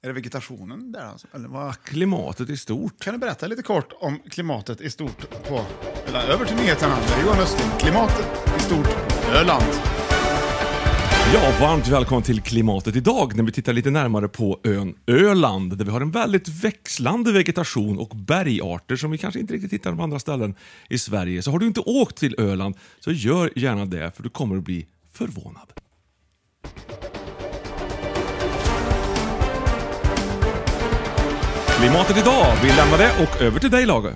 A: Är det vegetationen där alltså? Eller vad?
B: Klimatet i stort.
A: Kan du berätta lite kort om klimatet i stort på... Eller över till nyheterna med Johan Östling. Klimatet i stort Öland.
B: Ja, varmt välkommen till klimatet idag när vi tittar lite närmare på ön Öland där vi har en väldigt växlande vegetation och bergarter som vi kanske inte riktigt hittar på andra ställen i Sverige. Så har du inte åkt till Öland så gör gärna det för du kommer att bli förvånad. Klimatet idag, vi lämnar det och över till dig Lage.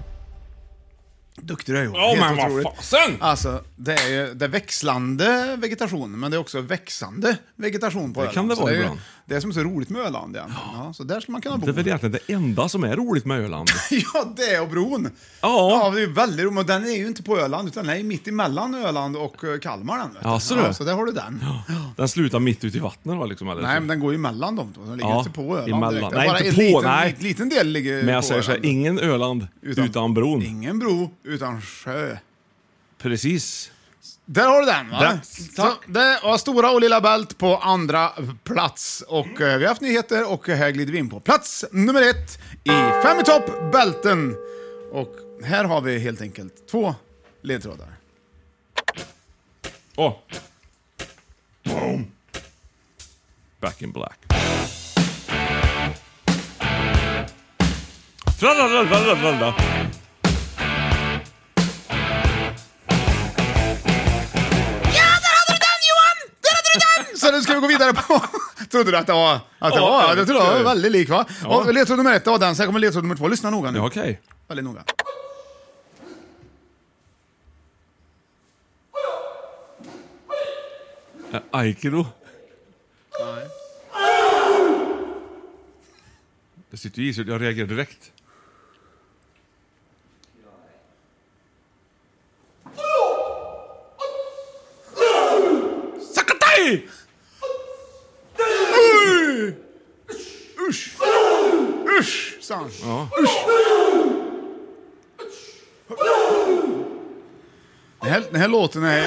A: Duktig du är Johan.
B: Ja,
A: Helt
B: men vad
A: otroligt.
B: fasen!
A: Alltså, det är ju det är växlande vegetation, men det är också växande vegetation på
B: Det
A: Öland.
B: kan det
A: Så
B: vara
A: är ju
B: ibland.
A: Det som är så roligt med Öland egentligen. Ja, så där skulle man kunna bo.
B: Det är väl egentligen det enda som är roligt med Öland.
A: (laughs) Ja, det är och bron.
B: Ja.
A: det är ju väldigt roligt. Och den är ju inte på Öland, utan den är ju mitt emellan Öland och eh, Kalmar. Den, vet du.
B: Ja, så du.
A: ja, så där har du den.
B: Den slutar mitt ute i vattnet va? Liksom, eller?
A: Nej, men den går ju mellan dem. då. Den ligger
B: Ja,
A: inte på Öland
B: emellan.
A: direkt. Det är
B: Nej,
A: bara
B: inte
A: en
B: på,
A: liten,
B: nej.
A: liten del ligger
B: Men jag
A: på
B: säger så här,
A: Öland.
B: ingen Öland utan, bron.
A: Ingen bro utan sjö.
B: Precis.
A: Där har du den va?
B: Där.
A: Så, det var Stora och Lilla Bält på andra plats. Och eh, vi har haft nyheter och här glider vi in på plats nummer ett i Fem i topp, Bälten. Och här har vi helt enkelt två ledtrådar.
B: Åh! Boom. Back in black. Tralalalalala.
A: Så nu ska vi gå vidare på... (laughs) trodde du att det var... Att det
B: Ja,
A: var?
B: ja,
A: Jag trodde det
B: ja,
A: var
B: ja.
A: väldigt lik va?
B: Ja.
A: Och ledtråd nummer ett, det var den. Sen kommer ledtråd nummer två. Lyssna noga nu.
B: Ja, okej.
A: Väldigt noga.
B: Eh, Aikido?
A: Nej.
B: Det sitter ju i så jag reagerar direkt. Sakatai!
A: Usch! Usch, sa han.
B: Ja.
A: Usch! Den här, den här låten är...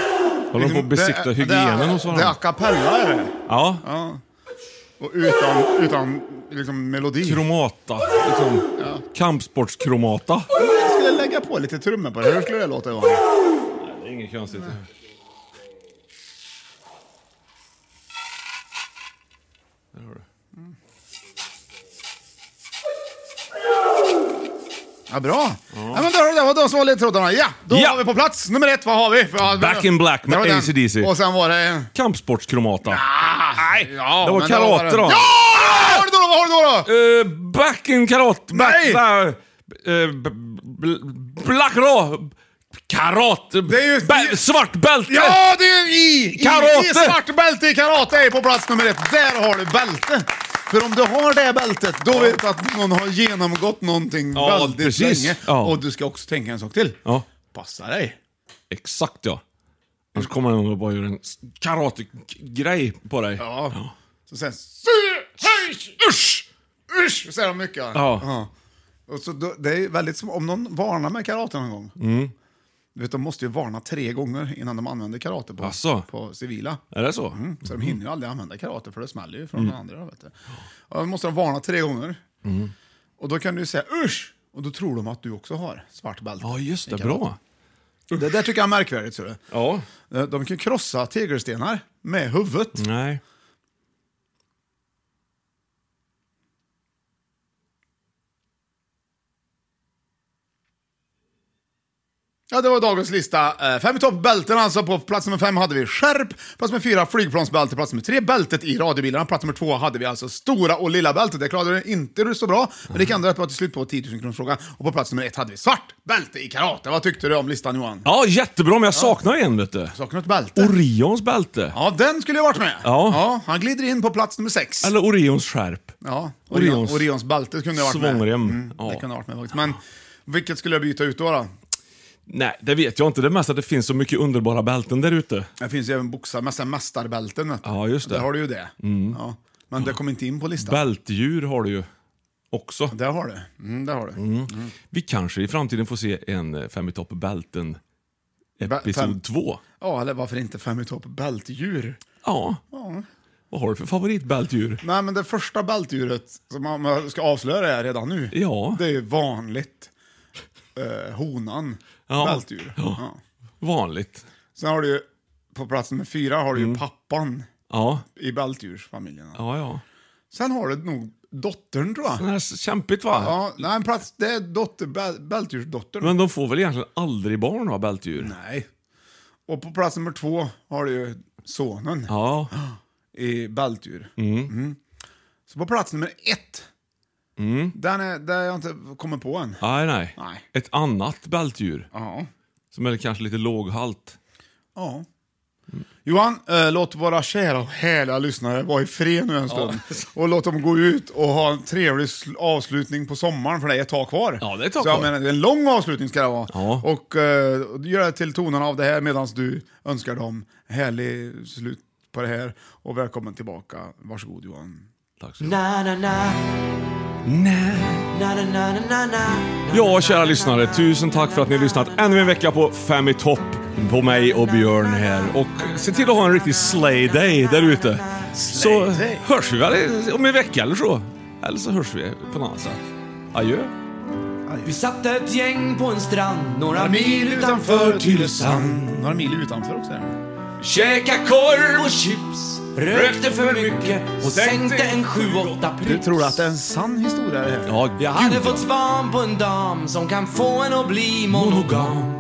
B: Håller de på att besikta
A: det-
B: hygienen
A: det-
B: hos varandra?
A: Det är a cappella, är det.
B: Ja.
A: Ja. Och utan, utan liksom melodi.
B: Kromata. Liksom. Kampsportskromata.
A: Jag skulle lägga på lite trummor på det. Hur skulle det låta? Johan?
B: Det är inget konstigt. Där har du.
A: Ja, bra. Ja. men då, det var de som var ledtrådarna. Ja, då
B: Ja.
A: var vi på plats nummer ett. Vad har vi? Ja,
B: Back in Black med
A: det var den.
B: AC/DC.
A: Och sen var det...
B: Kampsportskromata.
A: Nej, ja,
B: det var
A: men
B: karate då.
A: Ja! Vad har du då? Vad har du då? då?
B: Eh, back in karate. Back,
A: Nej!
B: ba- eh, b- bl- black raw. Karate.
A: Det är ju-
B: Bä- svart bälte.
A: Ja, det är i! I,
B: Karate!
A: i svart bälte i karate är på plats nummer ett. Där har du bälte. För om du har det bältet, då vet du att någon har genomgått någonting
B: Ja,
A: väldigt
B: precis.
A: länge.
B: Ja.
A: Och du ska också tänka en sak till.
B: Ja,
A: Passa dig.
B: exakt ja. Annars kommer någon och bara gör en s- karate-grej på dig.
A: Ja. Så sen... Hej! Usch! Usch! Säger de mycket.
B: Ja.
A: Och så då, det är väldigt som, om någon varnar med karate någon gång.
B: Mm.
A: Du vet, de måste ju varna tre gånger innan de använder karate på,
B: Asså?
A: på civila.
B: Är det så?
A: Mm, så de hinner ju aldrig använda karate för det smäller ju från den andra. Vet du. Och då måste de varna tre gånger. Och då kan du ju säga usch! Och då tror de att du också har svart bälte.
B: Ja, just det.
A: i karate. Mm.
B: Bra.
A: Det där tycker jag är märkvärdigt. Ser
B: Ja.
A: du. Eh, De kan krossa tegelstenar med huvudet.
B: Nej.
A: Ja, det var dagens lista. Eh, Fem i topp, bälten alltså. På plats nummer fem hade vi skärp, plats nummer fyra flygplansbälte, plats nummer tre bältet i radiobilarna, plats nummer två hade vi alltså stora och lilla bältet. Det klarade du inte du så bra, men det kan du på till slut på 10 000 kronors Och på plats nummer ett hade vi svart bälte i karate. Vad tyckte du om listan Johan?
B: Ja, jättebra, men jag saknar en vet du.
A: Saknar du ett bälte?
B: Orions bälte.
A: ja, den skulle ju ha varit med.
B: Ja.
A: han glider in på plats nummer sex.
B: Eller Orions skärp.
A: Ja, Orion,
B: Orions-
A: Orions. bälte kunde ha varit med.
B: Svångrem.
A: Mm,
B: Ja.
A: Det kunde ha varit med faktiskt. Men vilket skulle jag byta ut då? då?
B: Nej, det vet jag inte. Det är mest att det finns så mycket underbara bälten där ute.
A: Det finns ju även boxar, massa mästarbälten. vet du.
B: Ja, just det. Mm.
A: Där har du ju det. Ja. Men det kom inte in på listan.
B: Bältdjur har du ju också.
A: Där har du. Mm, där har du.
B: Vi kanske i framtiden får se en eh, Fem i topp bälten
A: fem-
B: episod 2.
A: Ja, eller varför inte fem i topp bältdjur?
B: Ja. Vad har du för favoritbältdjur?
A: Nej, men det första bältdjuret som man- man ska avslöja det här redan nu,
B: Ja.
A: det är ju vanligt. Eh, honan,
B: Ja.
A: bältdjur.
B: Ja.
A: Ja.
B: Vanligt.
A: Sen har du ju, på plats nummer fyra har du ju pappan
B: Ja.
A: i bältdjursfamiljen.
B: Ja, ja.
A: Sen har du nog dottern tror jag.
B: Det här är så kämpigt va?
A: Ja, nej, en plats, det är dotter, bäl- bältdjursdottern.
B: Men de får väl egentligen aldrig barn va, bältdjur?
A: Nej. Och på plats nummer två har du ju sonen
B: Ja.
A: i bältdjur. Mm. Så på plats nummer ett, den är, där jag inte kommit på än.
B: Nej, nej.
A: Nej.
B: Ett annat bältdjur
A: Ja.
B: som är kanske lite låghalt.
A: ja. Johan, eh, låt våra kära och härliga lyssnare vara i fred nu en stund. Och låt dem gå ut och ha en trevlig sl- avslutning på sommaren, för det är ett tag kvar.
B: Ja, det är ett tag
A: Så jag
B: kvar.
A: menar, det är en lång avslutning ska det vara.
B: Ja.
A: Och eh, gör det till tonerna av det här medan du önskar dem härlig slut på det här. Och välkommen tillbaka. Varsågod Johan.
B: Tack så mycket. Ja, kära lyssnare. Tusen tack för att ni har lyssnat ännu en vecka på Fem i topp. På mig och Björn här. Och se till att ha en riktig slay day där ute. Så
A: day.
B: hörs vi väl om en vecka eller så. Eller så hörs vi på något annat sätt. Adjö.
D: Vi satt ett gäng på en strand några
A: Några mil utanför också. där.
D: Käka korv och chips Rökte för mycket och sänkte en 7-8
A: Du
D: prips
A: tror att det är en sann historia det här?
B: Ja,
D: Jag
B: gud.
D: hade fått span på en dam som kan få en att bli monogam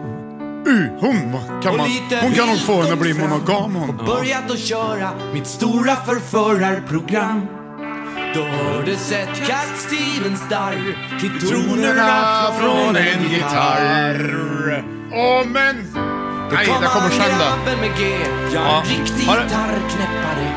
A: Uh, hon kan,
D: Och
A: man,
D: lite
A: hon kan nog
D: vilt
A: få henne att
D: kom
A: bli
D: fram.
A: monogam hon.
D: Börjat att köra mitt stora förförarprogram Då hördes ett Cat Stevens darr till tonerna från en gitarr
A: Om en Nej, det kommer sen då.
D: Grabben med G, jag är
A: Ja.
D: en riktig
A: Ha det.
D: gitarrknäppare.